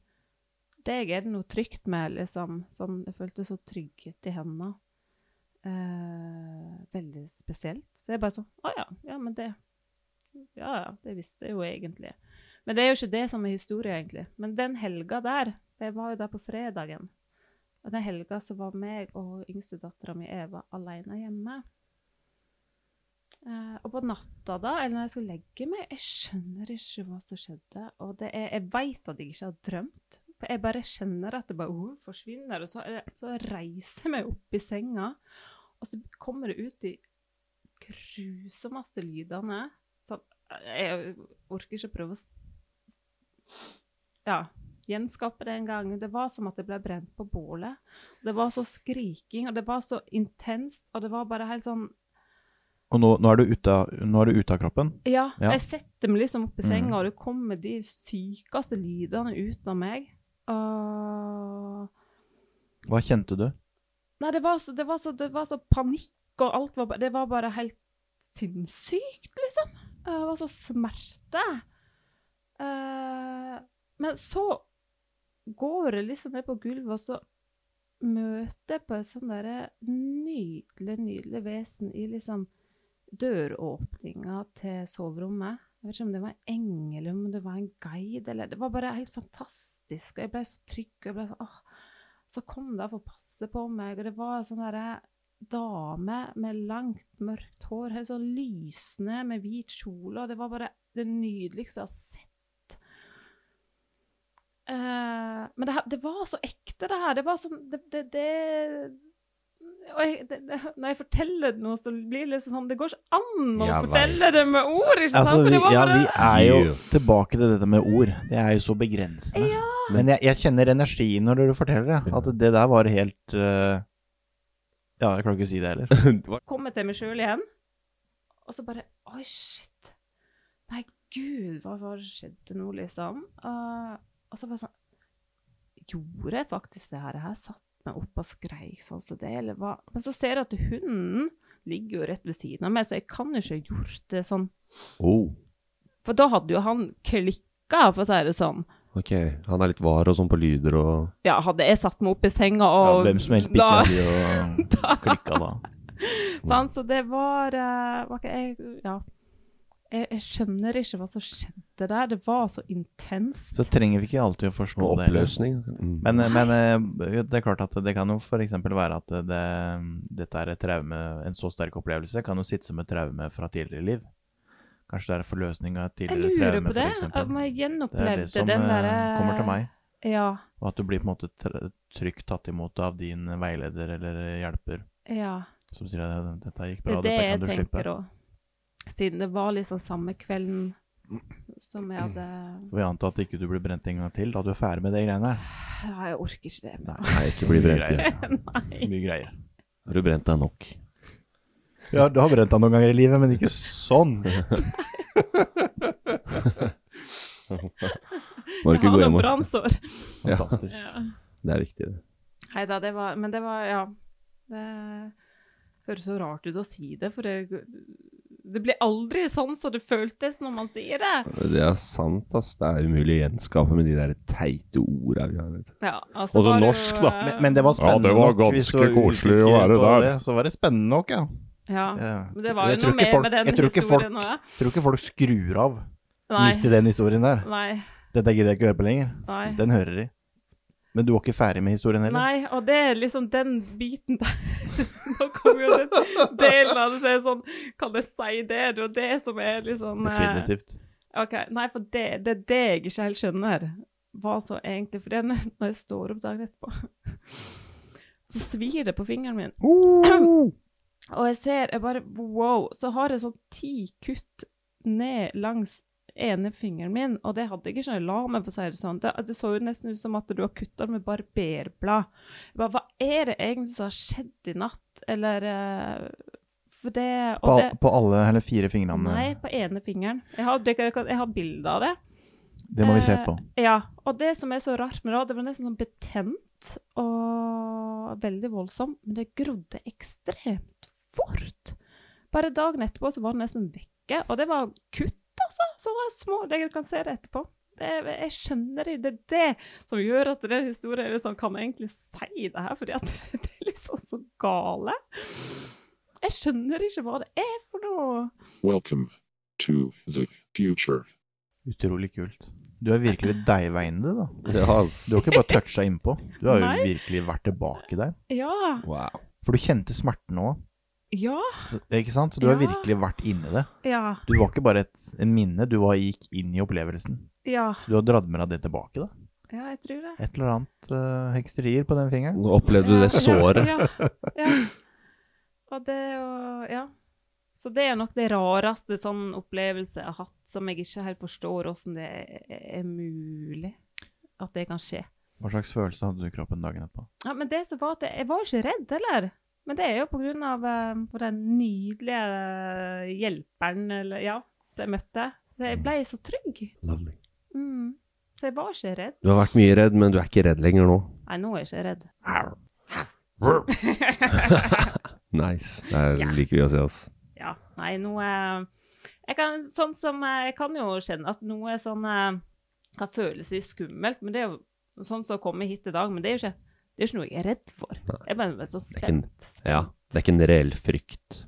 Speaker 5: deg er det noe trygt med, liksom. Sånn, jeg følte så trygghet i henne. Eh, veldig spesielt. Så jeg bare sånn Å ja, ja, men det Ja ja, det visste jeg jo egentlig. Men det er jo ikke det som er historie, egentlig. Men den helga der, jeg var jo der på fredagen, og den helga så var meg og yngstedattera mi Eva aleine hjemme. Eh, og på natta da, eller når jeg skulle legge meg, jeg skjønner ikke hva som skjedde. Og det er, jeg veit at jeg ikke har drømt. For jeg bare kjenner at det bare oh, forsvinner. Og så, eh, så reiser jeg meg opp i senga, og så kommer det ut de grusomste lydene. Sånn, jeg orker ikke prøve å s- ja, gjenskape det en gang. Det var som at det ble brent på bålet. Det var så skriking, og det var så intenst, og det var bare helt sånn
Speaker 3: Og nå, nå er du ute av- nå er du ute av kroppen.
Speaker 5: Ja,
Speaker 3: Ja.
Speaker 5: jeg setter meg liksom opp i senga,
Speaker 3: Mm.
Speaker 5: og det kommer de sykeste lydene ut av meg. Og
Speaker 3: Hva kjente du?
Speaker 5: Nei, det var, så, det, var så, det var så panikk, og alt var bare Det var bare helt sinnssykt, liksom. Eh, Det var så smerte. Eh, men så går jeg liksom ned på gulvet, og så møter jeg på et sånt derre nydelig, nydelig vesen i liksom døråpninga til soverommet. Jeg vet ikke om det var en engel, eller om det var en guide, eller Det var bare helt fantastisk, og jeg ble så trygg, og jeg ble sånn åh, så kom det for å passe på meg, og det var en sånn derre dame med langt, mørkt hår, helt sånn lysende, med hvit kjole, og det var bare det nydeligste jeg har sett. Eh, men det, her- det var så ekte, det her. Det var sånn Det, det, det og jeg, det, det, når jeg forteller det nå, så blir det liksom sånn Det går ikke an å
Speaker 4: Jeg
Speaker 5: fortelle
Speaker 4: vet.
Speaker 5: det med ord, ikke sant?
Speaker 3: Altså,
Speaker 5: For
Speaker 3: vi,
Speaker 5: det var
Speaker 3: ja,
Speaker 5: bare-
Speaker 3: vi er jo
Speaker 4: Yeah.
Speaker 3: tilbake til dette med ord. Det er jo så begrensende. Men jeg, jeg kjenner energi når du forteller det. At det der var helt eh, Ja, jeg klarer ikke å si det heller.
Speaker 4: Det var-
Speaker 5: kommer til meg sjøl igjen. Og så bare Oi, shit. Nei, gud, hva var det skjedde nå, liksom? Eh, og så bare sånn Gjorde jeg faktisk det her? Jeg satt meg opp og skreik sånn som det, eller hva? Men så ser jeg at hunden ligger jo rett ved siden av meg, så jeg kan jo ikke ha gjort det sånn.
Speaker 4: Oh,
Speaker 5: For da hadde jo han klikka, for å si det sånn.
Speaker 4: ok. Han er litt var og sånn på lyder og
Speaker 5: Ja, hadde jeg satt meg opp i senga
Speaker 3: Ja,
Speaker 5: og
Speaker 3: hvem som helst
Speaker 5: da-
Speaker 3: bikkja di og klikka da. Mm.
Speaker 5: Sant, så det var, eh, var ikke, jeg, ja. jeg, jeg skjønner ikke hva som skjedde der. Det var så intenst.
Speaker 3: Så trenger vi ikke alltid å forstå
Speaker 4: Og
Speaker 3: det. heller.
Speaker 4: oppløsning. Mm.
Speaker 3: Men, men eh, det er klart at det kan jo f.eks. være at det, dette er et traume, en så sterk opplevelse kan jo sitte som et traume fra tidligere liv. Kanskje det er forløsning av et
Speaker 5: Jeg
Speaker 3: tidligere
Speaker 5: lurer
Speaker 3: traume,
Speaker 5: på det. Om
Speaker 3: f.eks.
Speaker 5: jeg
Speaker 3: Det er det
Speaker 5: gjenopplevde
Speaker 3: som
Speaker 5: den
Speaker 3: eh,
Speaker 5: derre
Speaker 3: kommer til meg.
Speaker 5: Ja.
Speaker 3: Og at du blir på en måte tr- trygt tatt imot av din veileder eller hjelper
Speaker 5: ja.
Speaker 3: som sier at dette gikk
Speaker 5: Det
Speaker 3: bra,
Speaker 5: er det
Speaker 3: dette
Speaker 5: jeg
Speaker 3: kan du slippe.
Speaker 5: tenker òg. Siden det var liksom samme kvelden som jeg hadde
Speaker 3: Og jeg antar at ikke du blir brent en gang til, da du er ferdig med de greiene her.
Speaker 5: Ja, jeg orker ikke det.
Speaker 3: Nei,
Speaker 4: Nei, ikke bli brent igjen.
Speaker 5: Nei.
Speaker 3: Mye greier.
Speaker 4: Har du brent deg nok?
Speaker 3: Ja, du har brent deg noen ganger i livet, men ikke sånn.
Speaker 4: Må du
Speaker 5: Jeg
Speaker 4: ikke gå
Speaker 5: har noen
Speaker 4: hjem og
Speaker 5: brannsår.
Speaker 3: Fantastisk.
Speaker 4: Det er viktig, det.
Speaker 5: Nei da, det var Men det var Ja. Det høres så rart ut å si det, for det, det blir aldri sånn som det føltes når man sier det.
Speaker 4: Det er sant, ass. Det er umulig å gjenskape med de der teite orda vi har. Vet. du.
Speaker 5: Ja, altså
Speaker 4: Og så
Speaker 5: var det
Speaker 4: norsk,
Speaker 5: jo,
Speaker 4: da.
Speaker 5: eh,
Speaker 3: Men, men det var
Speaker 6: Ja,
Speaker 3: spennende
Speaker 6: det var
Speaker 3: nok. Hvis du var
Speaker 6: ganske koselig å
Speaker 3: usikker
Speaker 6: være
Speaker 3: på
Speaker 6: der.
Speaker 3: Det, så var det spennende nok, ja.
Speaker 5: Ja.
Speaker 3: Ja.
Speaker 5: Men det var jo
Speaker 3: Jeg tror
Speaker 5: noe
Speaker 3: ikke
Speaker 5: mer
Speaker 3: folk-
Speaker 5: med den
Speaker 3: jeg tror ikke
Speaker 5: historien
Speaker 3: folk-
Speaker 5: òg.
Speaker 3: Jeg tror ikke folk skrur av midt i
Speaker 5: Nei.
Speaker 3: den historien der.
Speaker 5: Nei.
Speaker 3: Dette gidder jeg ikke høre på lenger.
Speaker 5: Nei.
Speaker 3: Den hører de. Men du var ikke ferdig med historien heller?
Speaker 5: Nei, og det er liksom den biten der Nå kommer jo den delen av det som er sånn Kan jeg si det? Det er jo det som er liksom eh,
Speaker 3: Definitivt.
Speaker 5: Ok, Nei, for det, det er det jeg ikke helt skjønner. Hva så egentlig For det er når når jeg står opp dagen etterpå, så svir det på fingeren min. Og jeg ser Jeg bare Wow! Så har jeg sånn ti kutt ned langs ene fingeren min, og det hadde jeg ikke når jeg la meg, for å si det sånn. Det, det så jo nesten ut som at du har kutta med barberblad. Jeg bare, Hva er det egentlig som har skjedd i natt? Eller eh, For det og
Speaker 3: På, al-
Speaker 5: det,
Speaker 3: på alle eller fire fingrene.
Speaker 5: Nei, på ene fingeren. Jeg har, det, jeg har bilde av det.
Speaker 3: Det må vi se på.
Speaker 5: Ja, og det som er så rart med det, det var nesten sånn betent og veldig voldsom, men det grodde ekstremt fort. Bare dagen etterpå så var det nesten vekke, og det var kutt, altså. Så var det små, dere kan se det etterpå. Det, jeg skjønner det, det er det som gjør at den historien er liksom, kan jeg egentlig si det her, fordi at det er liksom så gale. Jeg skjønner ikke hva det er for noe.
Speaker 7: Welcome to the future.
Speaker 3: Utrolig kult. Du er virkelig deigveiende, da.
Speaker 4: Ja, ass.
Speaker 3: Du har ikke bare toucha innpå. Du har jo
Speaker 5: Nei.
Speaker 3: virkelig vært tilbake der.
Speaker 5: Ja,
Speaker 4: Wow.
Speaker 3: For du kjente smerten òg,
Speaker 5: ja,
Speaker 3: ikke sant? Så du har
Speaker 5: Ja.
Speaker 3: virkelig vært inni det.
Speaker 5: ja,
Speaker 3: Du var ikke bare et en minne, du var, gikk inn i opplevelsen.
Speaker 5: ja.
Speaker 3: Så du har dratt med deg det tilbake, da.
Speaker 5: Ja, jeg tror det.
Speaker 3: et eller annet eh, hekserier på den fingeren.
Speaker 4: Nå opplevde du det såret.
Speaker 5: Ja, ja. Og det er jo Ja. Så det er nok det rareste sånn opplevelse jeg har hatt, som jeg ikke helt forstår åssen det er er mulig at det kan skje.
Speaker 3: Hva slags følelse hadde du i kroppen dagen etterpå?
Speaker 5: Ja, Men det som var at jeg, jeg var jo ikke redd heller. Men det er jo på grunn av eh, på den nydelige eh, hjelperen eller, ja, som jeg møtte. Så jeg ble så trygg.
Speaker 4: Lovely.
Speaker 5: Mm. Så jeg var ikke redd.
Speaker 4: Du har vært mye redd, men du er ikke redd lenger nå.
Speaker 5: Nei, nå er jeg ikke redd.
Speaker 4: Nice. Det er,
Speaker 5: Ja.
Speaker 4: liker vi å se, ass.
Speaker 5: Ja, nei, nå eh, jeg kan, Sånn som eh, jeg kan jo kjenne at noe er sånn eh, kan føles litt skummelt, men det er jo sånn som å komme hit i dag, men det er jo ikke, det er ikke noe jeg er redd for. Jeg er bare bare så
Speaker 4: Det er ikke en-
Speaker 5: spent.
Speaker 4: Ja. Det er ikke en reell frykt.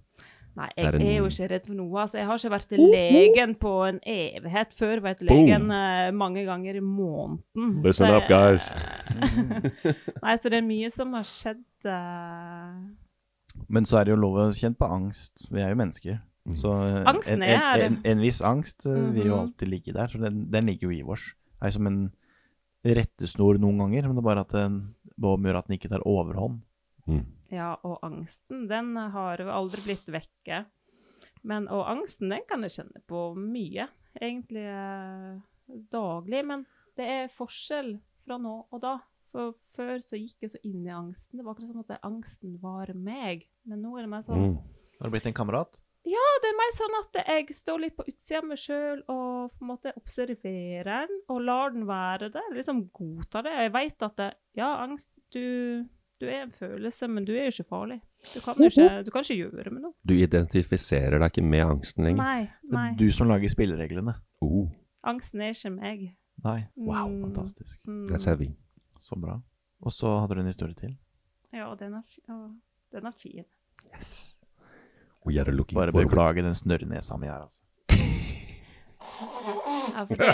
Speaker 5: Nei,
Speaker 4: det er
Speaker 5: jeg
Speaker 4: en-
Speaker 5: er jo ikke redd for noe. Altså, jeg har ikke vært til legen på en evighet. Før var jeg til legen eh, mange ganger i måneden.
Speaker 6: Listen
Speaker 5: Så
Speaker 6: up, guys.
Speaker 5: Mm. Nei, så det er mye som har skjedd. eh,
Speaker 3: Men så er det jo lov å kjenne på angst. Vi er jo mennesker. Så eh, en,
Speaker 5: Angsten er her.
Speaker 3: en, en, en viss angst eh, vil jo
Speaker 5: Mhm.
Speaker 3: alltid ligge der. Så den, den ligger jo i oss. Det er som en rettesnor noen ganger, men det er bare at den bare gjør at den ikke tar overhånd.
Speaker 5: Ja, og angsten, den har jo aldri blitt vekke. Men, og angsten, den kan jeg kjenne på mye, egentlig eh, daglig. Men det er forskjell fra nå og da. For før så gikk jeg så inn i angsten. Det var akkurat som at det- angsten var meg. Men nå er det mer sånn
Speaker 4: Mm.
Speaker 3: Har du blitt en kamerat?
Speaker 5: Ja, det er mer sånn at jeg står litt på utsida av meg sjøl og på en måte observerer den og lar den være der. Liksom godtar det. Jeg veit at det, ja, angst du, du er en følelse, men du er jo ikke farlig. Du kan jo ikke, du kan ikke gjøre med noe.
Speaker 4: Du identifiserer deg ikke med angsten lenger.
Speaker 5: Nei,
Speaker 3: Det
Speaker 5: nei.
Speaker 3: er du som lager spillereglene.
Speaker 4: Oh,
Speaker 5: Angsten er ikke meg.
Speaker 3: Nei. Wow,
Speaker 5: Mm.
Speaker 3: fantastisk.
Speaker 5: Mm.
Speaker 4: that's heavy.
Speaker 3: Så bra. Og så hadde du en historie til.
Speaker 5: Ja, den er, fi- ja, den er fin.
Speaker 4: Yes. We are looking
Speaker 3: Bare
Speaker 4: for
Speaker 3: beklage den snørrnesa mi her, altså.
Speaker 5: Ja, for det,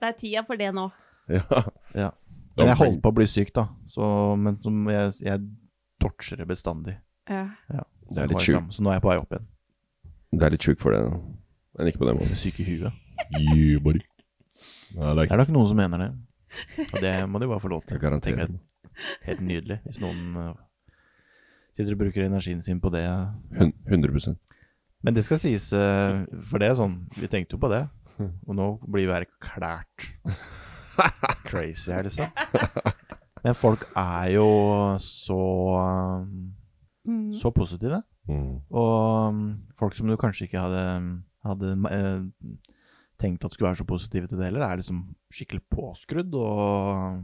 Speaker 5: det er tida for det nå.
Speaker 4: Ja.
Speaker 3: Ja.
Speaker 4: Da
Speaker 3: Men jeg
Speaker 4: blir-
Speaker 3: holdt på å bli syk, da. Så, men som jeg, jeg torturer bestandig.
Speaker 5: Ja.
Speaker 3: Ja.
Speaker 4: Det er
Speaker 3: Jeg
Speaker 4: litt
Speaker 3: har
Speaker 4: sjukt.
Speaker 3: samme- Så nå er jeg på vei opp igjen.
Speaker 4: Du er litt sjuk for det, men ikke på den måten.
Speaker 3: Syk i huet.
Speaker 4: Yeah, buddy. I like
Speaker 3: Det er nok noen som mener det. Og det må de bare få lov til.
Speaker 4: Jeg garanterer
Speaker 3: Tenker jeg er Helt nydelig. Hvis noen øh, sitter og bruker energien sin på det.
Speaker 4: Hun- 100
Speaker 3: Men det skal sies, øh, for det er sånn Vi tenkte jo på det. Og nå blir vi erklært crazy her, liksom. Men folk er jo så
Speaker 5: Mm.
Speaker 3: så positive.
Speaker 4: Mm.
Speaker 3: Og um, folk som du kanskje ikke hadde, hadde eh, tenkt at skulle være så positive til det heller, er liksom skikkelig påskrudd og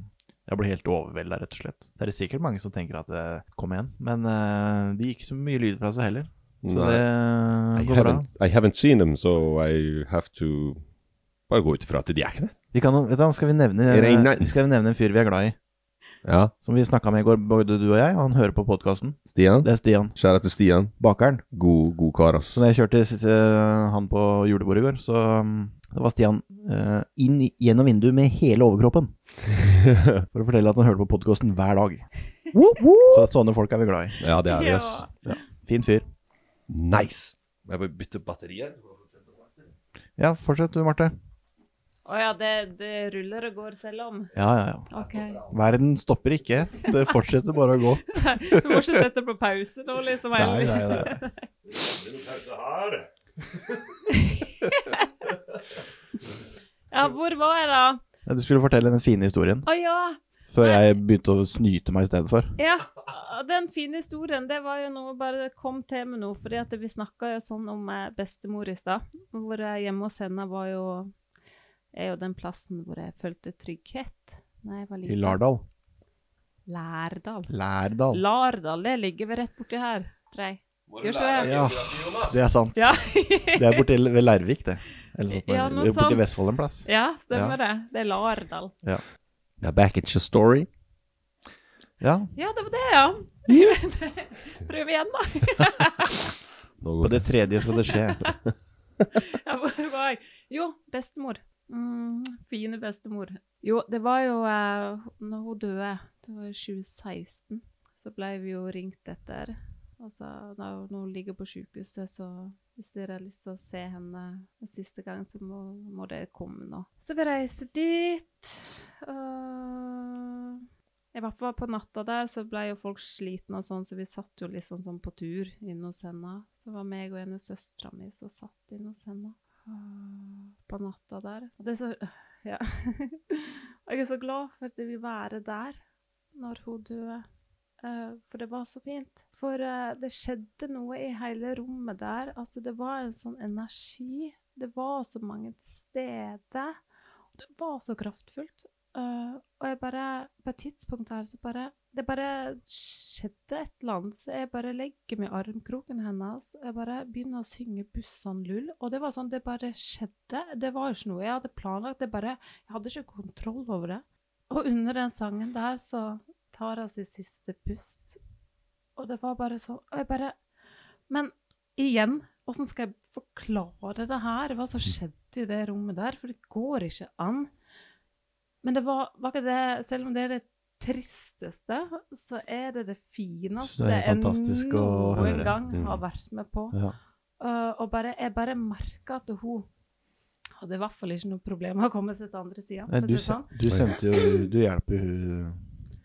Speaker 3: jeg blir helt overvelda, rett og slett. Det er sikkert mange som tenker at eh, kom igjen, men eh, det gikk ikke så mye lyd fra seg heller. Så
Speaker 4: Nei. I
Speaker 3: det går bra.
Speaker 4: haven't, I haven't seen them, so I have to Bare gå ut fra at de er ikke det.
Speaker 3: Vi kan, vet du, hva, skal vi, nevne,
Speaker 4: Er det ingen-
Speaker 3: vi skal nevne en fyr vi er glad i,
Speaker 4: Ja,
Speaker 3: som vi snakka med i går, både du og jeg, og han hører på podkasten.
Speaker 4: Stian.
Speaker 3: Det er Stian,
Speaker 4: Kjære til Stian.
Speaker 3: bakeren.
Speaker 4: God, god kar, ass.
Speaker 3: Så da jeg kjørte siste, han på julebordet i går, så um, det var Stian eh, inn i- gjennom vinduet med hele overkroppen. For å fortelle at han hørte på podkasten hver dag. Så sånne folk er vi glad i.
Speaker 4: Ja, det er vi, ass.
Speaker 5: Ja.
Speaker 3: Fin fyr.
Speaker 4: Nice. Jeg bare bytte batteri her.
Speaker 3: Ja, fortsett du, Marte.
Speaker 5: Å ja, det, det ruller og går selv om.
Speaker 3: Ja, ja, ja.
Speaker 5: OK.
Speaker 3: Verden stopper ikke. Det fortsetter bare å gå.
Speaker 5: Du må ikke sette på pause nå, liksom.
Speaker 3: Nei, nei, nei.
Speaker 5: Ja, hvor var jeg, da?
Speaker 3: Ja, Du skulle fortelle den fine historien
Speaker 5: Å ja.
Speaker 3: før jeg begynte å snyte meg istedenfor.
Speaker 5: ja. Den fine historien, det var jo noe bare kom til med nå. fordi at vi snakka jo sånn om eh, bestemor i stad. Hvor jeg hjemme hos henne var jo Er jo den plassen hvor jeg følte trygghet. Nei, jeg var
Speaker 3: I
Speaker 5: liten.
Speaker 3: Lardal.
Speaker 5: Lærdal.
Speaker 3: Lærdal.
Speaker 5: Lardal, det ligger vel rett borti her, tror jeg. Gjør ikke det?
Speaker 3: Ja, det er sant.
Speaker 5: Ja.
Speaker 3: Det er borti ved Lærvik, det. Eller sånt,
Speaker 5: Ja, noe
Speaker 3: eller borti
Speaker 5: sånt.
Speaker 3: Vestfold en plass.
Speaker 5: ja, stemmer det. Det er Lardal.
Speaker 4: Now back at your story.
Speaker 3: Ja,
Speaker 5: Ja, det var det, ja. Prøv igjen, da.
Speaker 4: Nå
Speaker 3: På
Speaker 4: går
Speaker 3: det tredje skal det skje.
Speaker 5: Ja, hvor var jeg? Jo, bestemor. Mm, fine bestemor. Jo, det var jo eh, når hun døde, det var i 2016, så ble vi jo ringt etter. Og så når hun- når hun ligger på sykehuset, så hvis dere har lyst til å se henne en siste gang, så må, må dere komme nå. Så vi reiser dit. øh, I hvert fall på natta der så ble jo folk slitne og sånn, så vi satt jo liksom sånn på tur inne hos henne. Så var meg og en av søstera mi som satt inne hos henne øh, på natta der. Og det er så Ja. Og jeg er så glad for at jeg vil være der når hun døde. Eh, for det var så fint. For eh, det skjedde noe i hele rommet der. Altså, det var en sånn energi. Det var så mange steder. Og det var så kraftfullt. Eh, og jeg bare På et tidspunkt her så bare Det bare skjedde et eller annet. Så jeg bare legger meg i armkroken hennes. og Jeg bare begynner å synge 'Bussan lull'. Og det var sånn, det bare skjedde. Det var ikke noe jeg hadde planlagt. Det bare Jeg hadde ikke kontroll over det. Og under den sangen der så tar han sitt siste pust. Og det var bare sånn Og jeg bare Men igjen, åssen skal jeg forklare det her? Hva som skjedde i det rommet der? For det går ikke an. Men det var, var ikke det Selv om det er det tristeste, så er det det
Speaker 3: Så
Speaker 5: fineste
Speaker 3: det er
Speaker 5: jeg
Speaker 3: fantastisk å
Speaker 5: noen
Speaker 3: høre.
Speaker 5: gang
Speaker 4: Mm.
Speaker 5: har vært med på.
Speaker 3: Ja.
Speaker 5: Uh, og bare, jeg bare merka at hun hadde i hvert fall ikke noe problem med å komme seg til andre sida.
Speaker 3: Nei, du, sen- du sendte jo Du hjelper hun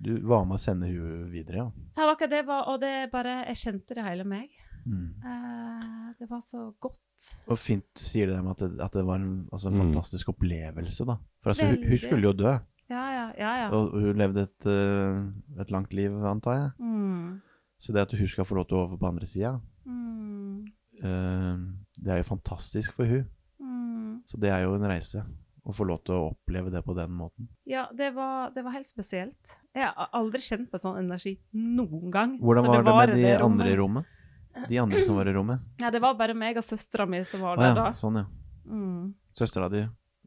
Speaker 3: Du var med å sende hun videre, ja.
Speaker 5: Ja, var ikke det, var, og det bare, jeg kjente det hele meg.
Speaker 3: Mm.
Speaker 5: Eh, det var så godt.
Speaker 3: Og fint du sier det der med at det, at det var en, altså en
Speaker 4: Mm.
Speaker 3: fantastisk opplevelse, da. For altså, hun, hun
Speaker 5: Veldig.
Speaker 3: skulle jo dø,
Speaker 5: Ja, ja, ja. ja.
Speaker 3: og hun levde et, eh, et langt liv, antar jeg.
Speaker 5: Mm.
Speaker 3: Så det at hun skal få lov til å over på andre sida,
Speaker 5: Mm.
Speaker 3: eh, Det er jo fantastisk for hun.
Speaker 5: Mm.
Speaker 3: Så det er jo en reise. Å få lov til å oppleve det på den måten.
Speaker 5: Ja, det var, det var helt spesielt. Jeg har aldri kjent på sånn energi noen gang.
Speaker 3: Hvordan
Speaker 5: Så
Speaker 3: var det med de
Speaker 5: det rommet.
Speaker 3: andre i rommet? De andre som var i rommet?
Speaker 5: Ja, det var bare meg og søstera mi som var
Speaker 3: Å
Speaker 5: der
Speaker 3: ja,
Speaker 5: da.
Speaker 3: sånn ja.
Speaker 5: Mm.
Speaker 3: Søstera di,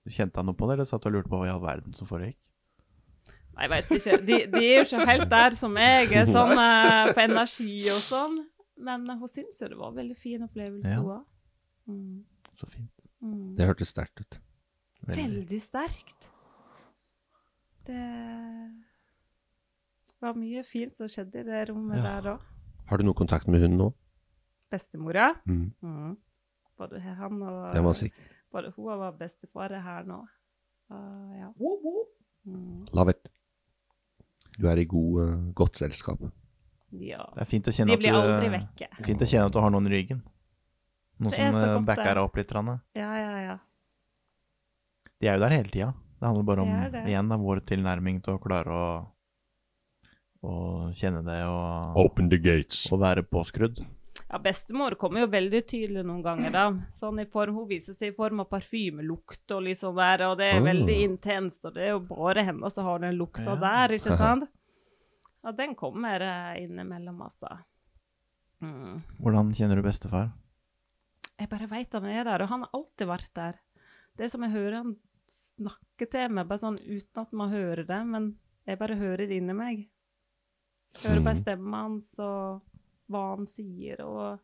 Speaker 3: kjente han noe på det, eller satt og lurte på hva i all verden som foregikk?
Speaker 5: Nei, jeg veit ikke. De, de er jo ikke helt der som jeg er, sånn eh, på energi og sånn. Men hun syns jo det var en veldig fin opplevelse,
Speaker 3: Ja.
Speaker 5: hun òg. Mm.
Speaker 3: Så fint.
Speaker 5: Mm.
Speaker 4: Det hørtes sterkt ut.
Speaker 5: Veldig sterkt. Det var mye fint som skjedde i det rommet
Speaker 3: Ja.
Speaker 5: der òg.
Speaker 4: Har du noe kontakt med hun nå?
Speaker 5: Bestemora.
Speaker 4: Mm.
Speaker 5: Mm. Både han og
Speaker 4: Den var sikker.
Speaker 5: Både hun og var bestefar her nå. Og ja. Mm.
Speaker 4: Lavert. Du er i god, eh, godt selskap.
Speaker 5: ja.
Speaker 3: Det er fint å kjenne
Speaker 5: De
Speaker 3: at
Speaker 5: blir aldri
Speaker 3: du, eh,
Speaker 5: vekke.
Speaker 3: fint å kjenne at du har noen i ryggen. Noen
Speaker 5: Det er
Speaker 3: som
Speaker 5: så
Speaker 3: eh,
Speaker 5: godt, det.
Speaker 3: backer deg opp litt. Rane.
Speaker 5: Ja, ja, ja.
Speaker 3: De er jo der hele tida. Det handler bare om
Speaker 5: Det er det.
Speaker 3: igjen da, vår tilnærming til å klare å, å kjenne det og,
Speaker 4: Open the gates.
Speaker 3: og være påskrudd.
Speaker 5: Ja, bestemor kommer jo veldig tydelig noen ganger, da. Sånn i form, Hun viser seg i form av parfymelukt og liksom der, og det er
Speaker 4: Oh.
Speaker 5: veldig intenst. Og det er jo bare henne som har den lukta
Speaker 3: Ja.
Speaker 5: der, ikke sant? Ja, den kommer eh, innimellom, altså. Mm.
Speaker 3: Hvordan kjenner du bestefar?
Speaker 5: Jeg bare veit han er der, og han har alltid vært der. Det som jeg hører han snakke til meg, bare sånn uten at man hører det, men jeg bare hører det inni meg. Hører bare stemmen hans og hva han sier og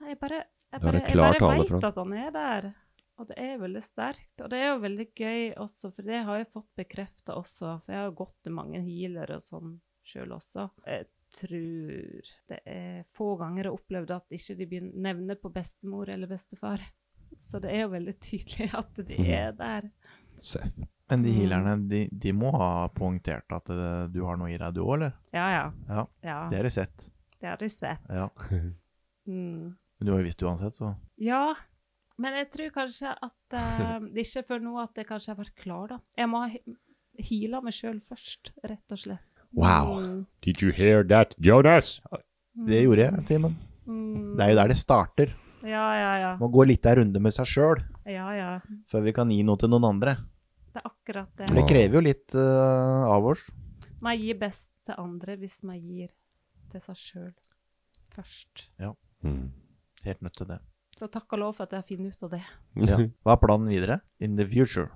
Speaker 5: Nei, jeg bare, jeg
Speaker 4: Ja,
Speaker 5: bare,
Speaker 4: det er
Speaker 5: jeg
Speaker 4: klar
Speaker 5: bare
Speaker 4: tale for
Speaker 5: veit
Speaker 4: han.
Speaker 5: at han er der. Og det er veldig sterkt. Og det er jo veldig gøy også, for det har jeg fått bekrefta også. For jeg har jo gått til mange healere og sånn sjøl også. Jeg tror det er få ganger jeg har opplevd at ikke de begyn- nevner på bestemor eller bestefar. Så det er jo veldig tydelig at de er der.
Speaker 4: Seff.
Speaker 3: Men de
Speaker 5: Mm.
Speaker 3: healerne, de, de må ha poengtert at eh, du har noe i deg, du òg, eller?
Speaker 5: Ja, ja.
Speaker 3: Ja,
Speaker 5: ja
Speaker 3: det har de sett.
Speaker 5: det har de sett.
Speaker 3: Ja.
Speaker 5: Mm.
Speaker 3: Men du har jo visst det uansett, så
Speaker 5: Ja, men jeg tror kanskje at eh, det ikke er før nå at jeg kanskje har vært klar, da. Jeg må ha he- heala meg sjøl først, rett og slett.
Speaker 4: Wow.
Speaker 5: Mm.
Speaker 6: Did you hear that, Jonas?
Speaker 3: Det gjorde jeg, Timen.
Speaker 5: Mm.
Speaker 3: Det er jo der det starter.
Speaker 5: Ja, ja, ja.
Speaker 3: Man går litt av runde med seg sjøl
Speaker 5: Ja, ja.
Speaker 3: før vi kan gi noe til noen andre.
Speaker 5: Det er akkurat
Speaker 3: For
Speaker 5: det.
Speaker 3: det krever jo litt eh, av oss.
Speaker 5: Man gir best til andre hvis man gir til seg sjøl først.
Speaker 6: Mm.
Speaker 3: Helt nødt til det.
Speaker 5: Så takk og lov for at jeg har funnet ut av det.
Speaker 3: Ja. Hva er planen videre? In the future.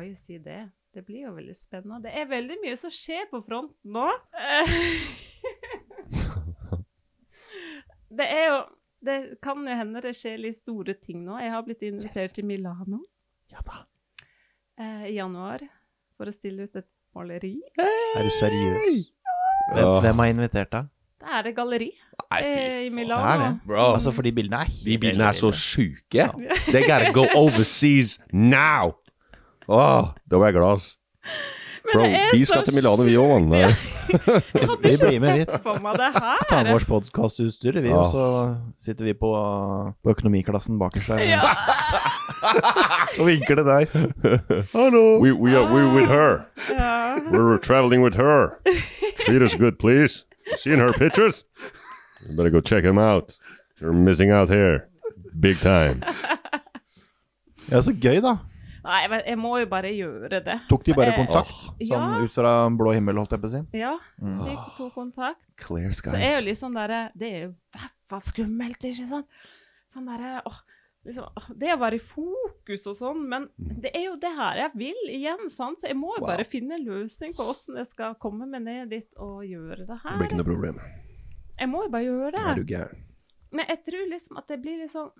Speaker 5: Oi, si det. Det blir jo veldig spennende. Det er veldig mye som skjer på fronten nå. Det er jo Det kan jo hende det skjer litt store ting nå. Jeg har blitt invitert til Milano
Speaker 4: Ja da.
Speaker 5: eh, i januar for å stille ut et maleri.
Speaker 3: Er du seriøs? Hvem, hvem har invitert deg?
Speaker 5: Det er et galleri
Speaker 4: Nei,
Speaker 5: eh,
Speaker 3: Det er
Speaker 4: fy faen.
Speaker 5: i
Speaker 3: det.
Speaker 5: Milano.
Speaker 4: Bro.
Speaker 3: Altså, for de bildene er
Speaker 4: De bilene er så sjuke.
Speaker 5: Ja.
Speaker 4: They gotta go overseas now! Åh, da var jeg glad, ass. Bro,
Speaker 5: det er
Speaker 4: vi
Speaker 5: så
Speaker 4: skal til Milano, vi òg, mann.
Speaker 5: Ja.
Speaker 3: Jeg
Speaker 5: hadde ikke
Speaker 3: blir med dit.
Speaker 5: sett for meg det her.
Speaker 3: Ta med vårt podkastutstyr, vi,
Speaker 4: Ja.
Speaker 3: og så sitter vi på, på økonomiklassen bakerst der
Speaker 5: Ja.
Speaker 3: og vinker til deg.
Speaker 6: We, we, are, we're with her.
Speaker 5: Ja.
Speaker 6: We're traveling with her. Treat us good, please. You Seen her pictures? You better go check them out. You're missing out here. Big time.
Speaker 3: Ja, så gøy, da.
Speaker 5: Nei, jeg, vet- jeg må jo bare gjøre det.
Speaker 3: Tok de bare
Speaker 5: Eh,
Speaker 3: kontakt?
Speaker 5: ja.
Speaker 3: Sånn ut fra blå himmel, holdt jeg på å si.
Speaker 5: Ja,
Speaker 4: Mm.
Speaker 5: vi tok kontakt.
Speaker 4: Clear
Speaker 5: Så er jo
Speaker 4: skies.
Speaker 5: litt sånn derre Det er jo i hvert fall skummelt, ikke sant? Sånn derre åh, liksom, åh, Det å være i fokus og sånn, men det er jo det her jeg vil igjen, sant? Så jeg må jo bare finne en løsning på åssen jeg skal komme meg ned dit og gjøre det
Speaker 4: Det blir
Speaker 5: her.
Speaker 4: ikke noe problem.
Speaker 5: Jeg må jo bare gjøre det.
Speaker 4: Er du gæren?
Speaker 5: Men jeg tror liksom at det blir litt sånn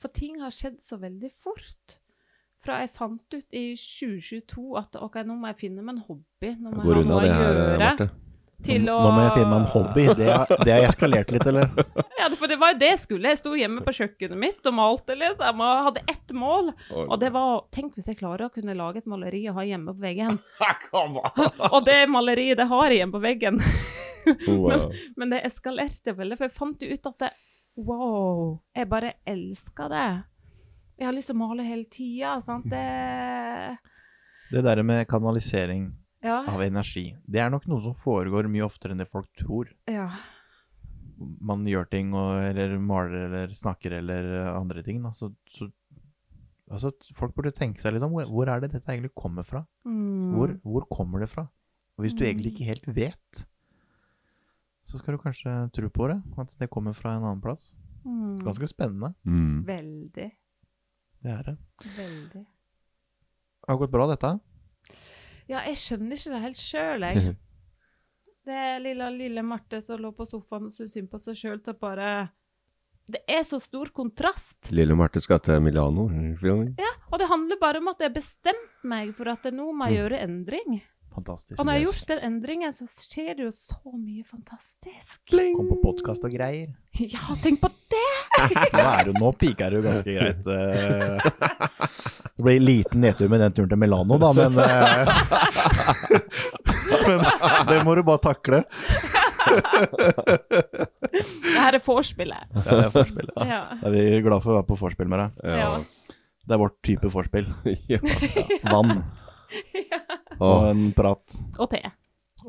Speaker 5: For ting har skjedd så veldig fort. Fra jeg fant ut i 2022 at ok, nå må jeg finne meg en hobby. Nå
Speaker 4: Går
Speaker 5: må jeg ha
Speaker 4: unna
Speaker 5: noe å
Speaker 4: det her, eh,
Speaker 5: gjøre.
Speaker 4: Marte.
Speaker 5: Til å
Speaker 3: Nå må jeg finne meg en hobby. Det har, det har eskalert litt, eller?
Speaker 5: Ja, for det var jo det jeg skulle. Jeg sto hjemme på kjøkkenet mitt og malte, liksom. Og hadde ett mål. Og det var Tenk hvis jeg klarer å kunne lage et maleri og ha hjemme på veggen. og det maleriet, det har jeg hjemme på veggen.
Speaker 4: Wow.
Speaker 5: Men det eskalerte veldig, for jeg fant jo ut at det, Wow! Jeg bare elsker det. Jeg har lyst til å male hele tida, sant. Det
Speaker 3: Det der med kanalisering
Speaker 5: Ja.
Speaker 3: av energi, det er nok noe som foregår mye oftere enn det folk tror.
Speaker 5: ja.
Speaker 3: man gjør ting, og, eller maler eller snakker eller eh, andre ting, da, så, så altså, Folk burde tenke seg litt om hvor, hvor er det dette egentlig kommer fra.
Speaker 5: Mm.
Speaker 3: Hvor, hvor kommer det fra? Og hvis du egentlig ikke helt vet, så skal du kanskje tro på det, at det kommer fra en annen plass.
Speaker 5: Mm.
Speaker 3: Ganske spennende.
Speaker 4: Mm.
Speaker 5: Veldig.
Speaker 3: Det er det.
Speaker 5: Veldig.
Speaker 3: Det har gått bra, dette.
Speaker 5: Ja, jeg skjønner ikke det helt sjøl, jeg. Det er lille, lille Marte som lå på sofaen og syntes synd på seg sjøl til bare Det er så stor kontrast.
Speaker 4: Lille Marte skal til Milano. filmen.
Speaker 5: Ja, og det handler bare om at jeg har bestemt meg for at nå må jeg gjøre endring.
Speaker 3: Fantastisk.
Speaker 5: Og når jeg har gjort den endringen, så skjer det jo så mye fantastisk.
Speaker 3: Kom på podkast og greier.
Speaker 5: Ja, tenk på det!
Speaker 3: Nå, er du, nå piker du ganske greit. eh. Det blir liten nedtur med den turen til Milano, da, men, eh, men det må du bare takle.
Speaker 5: Det her er vorspielet.
Speaker 3: Ja, det er forspillet.
Speaker 5: Ja.
Speaker 3: Da er vi glad for å være på vorspiel med deg.
Speaker 5: Ja.
Speaker 3: Det er vårt type vorspiel.
Speaker 4: ja.
Speaker 3: Vann og
Speaker 4: Åh.
Speaker 3: en prat
Speaker 5: Og te.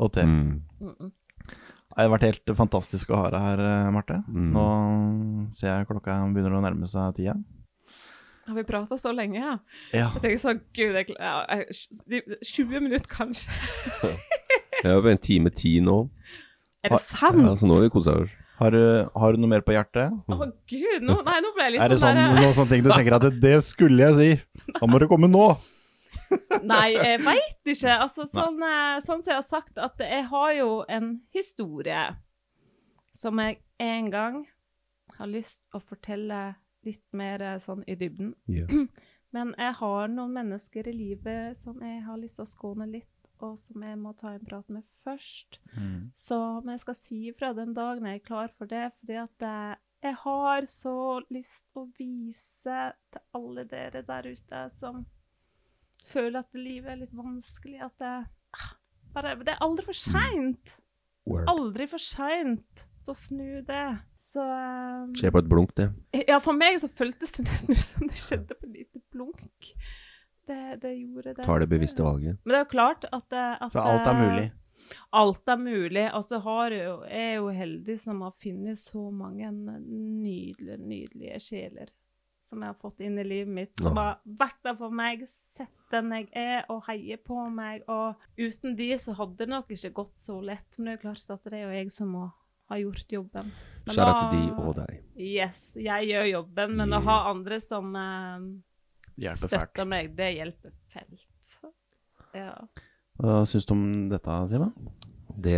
Speaker 3: og te.
Speaker 4: Mm.
Speaker 3: Det har vært helt fantastisk å ha deg her, eh, Marte. Nå ser jeg klokka begynner å nærme seg tida.
Speaker 5: Har vi prata så lenge, ja?
Speaker 3: Ja.
Speaker 5: Jeg tenker sånn, gud, jeg, ja, jeg, 20 minutter kanskje.
Speaker 4: Det er jo en time ti nå.
Speaker 5: Er det
Speaker 4: Ja,
Speaker 5: sant?
Speaker 4: så nå har vi kosa oss.
Speaker 3: Har, du, har du noe mer på hjertet?
Speaker 5: Å gud, nå, nei, nå ble jeg
Speaker 3: Mm. Er det sånn,
Speaker 5: litt sånn der,
Speaker 3: noen sånne ting du tenker at det, det skulle jeg si? Da må du komme nå!
Speaker 5: Nei, jeg veit ikke. Altså, sånn, eh, sånn som jeg har sagt, at jeg har jo en historie som jeg en gang har lyst å fortelle litt mer eh, sånn i dybden.
Speaker 4: Ja.
Speaker 5: Men jeg har noen mennesker i livet som jeg har lyst til å skåne litt, og som jeg må ta en prat med først. Så men jeg skal si ifra den dagen jeg er klar for det, fordi at eh, jeg har så lyst å vise til alle dere der ute som føler at livet er litt vanskelig, at det, ah, bare, det er aldri for seint. Aldri for seint å snu det. Så eh,
Speaker 4: Skjer på et blunk, det.
Speaker 5: ja, for meg så føltes det nesten ut som det skjedde på et lite blunk. Det, det gjorde det.
Speaker 4: Tar det bevisste valget.
Speaker 5: Men det er jo klart at, eh, at
Speaker 3: Så alt er
Speaker 5: eh,
Speaker 3: mulig.
Speaker 5: Alt er mulig. Og så har jeg jo, jeg er jo heldig som har funnet så mange nydelige, nydelige sjeler som jeg har fått inn i livet mitt, som
Speaker 4: Ja.
Speaker 5: har vært der for meg, sett den jeg er, og heier på meg. Og uten de så hadde det nok ikke gått så lett. Men det er jo klart at det er jo jeg som må ha gjort jobben. Men
Speaker 4: Skjæra
Speaker 5: da-
Speaker 4: til de og deg.
Speaker 5: Yes, jeg gjør jobben, men å ha andre som eh,
Speaker 3: Det hjelper fælt.
Speaker 5: støtter meg, det hjelper fælt. Ja.
Speaker 3: Hva syns du om dette, Simen?
Speaker 4: Det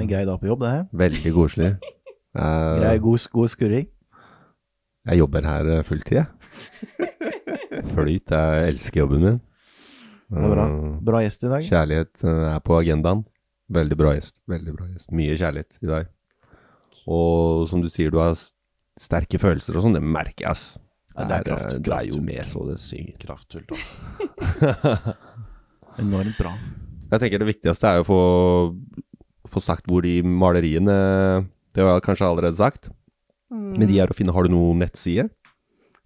Speaker 3: En grei dag på jobb, det her.
Speaker 4: Veldig koselig. Eh,
Speaker 3: Grei, god, god skurring.
Speaker 4: jeg jobber her eh, fulltid, jeg. Flyt. Jeg elsker jobben min.
Speaker 3: Det er bra.
Speaker 4: Eh,
Speaker 3: Bra gjest i dag.
Speaker 4: Kjærlighet eh, er på agendaen. Veldig bra gjest. Veldig bra gjest. Mye kjærlighet i dag. Og som du sier, du har s- sterke følelser og sånn. Det merker jeg, ass.
Speaker 3: Ja, det er
Speaker 4: eh,
Speaker 3: kraft-
Speaker 4: det er jo
Speaker 3: kraftfullt.
Speaker 4: mer så det synger.
Speaker 3: Kraftfullt, altså. Enormt bra.
Speaker 4: Jeg tenker det viktigste er jo å få, få sagt hvor de maleriene Det har jeg kanskje allerede sagt, men de er å finne Har du noen nettside?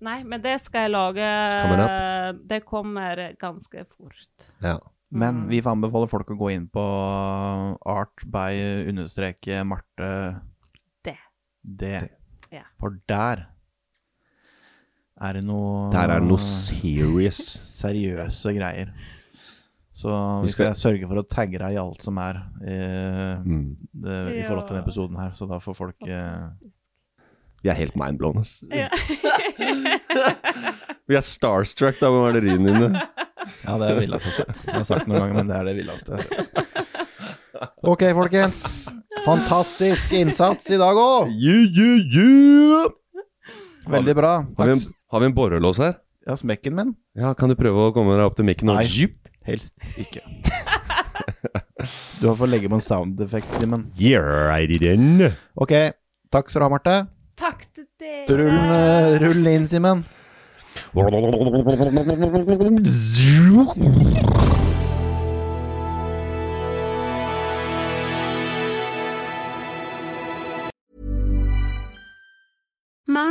Speaker 5: Nei, men det skal jeg lage.
Speaker 4: Kommer
Speaker 5: Det kommer ganske fort.
Speaker 4: Ja.
Speaker 3: Men vi får anbefale folk å gå inn på art by understreke Marte
Speaker 5: Det.
Speaker 3: D.
Speaker 5: Ja.
Speaker 3: For der er det noe
Speaker 4: Der er det noe serious.
Speaker 3: seriøse greier. Så
Speaker 4: Vi
Speaker 3: vi skal
Speaker 4: skal-
Speaker 3: sørge for å tagge deg i alt som er eh,
Speaker 4: Mm.
Speaker 3: det, i
Speaker 5: Ja.
Speaker 3: forhold til denne episoden her, så da får folk eh,
Speaker 4: Vi er helt mindblown. ass.
Speaker 5: Ja.
Speaker 4: Vi er starstruck av maleriene dine.
Speaker 3: Ja, det er det villeste jeg har sett. Jeg har sagt det noen ganger, men det er det villeste jeg har sett. Ok, folkens. Fantastisk innsats i dag òg.
Speaker 4: Yeah, yeah, yeah.
Speaker 3: Veldig bra.
Speaker 4: Har, vi
Speaker 3: Takk.
Speaker 4: en, har vi en borrelås her?
Speaker 3: Ja, smekken min?
Speaker 4: Ja, Kan du prøve å komme deg opp til mikken? og-
Speaker 3: Nei. Helst ikke. Du har fått legge på en sound effect, Simen.
Speaker 6: Yeah, I didn't.
Speaker 3: Ok, takk skal du ha, Marte.
Speaker 5: Takk til dere.
Speaker 3: Rull, eh, rull inn, Simen.
Speaker 2: Mom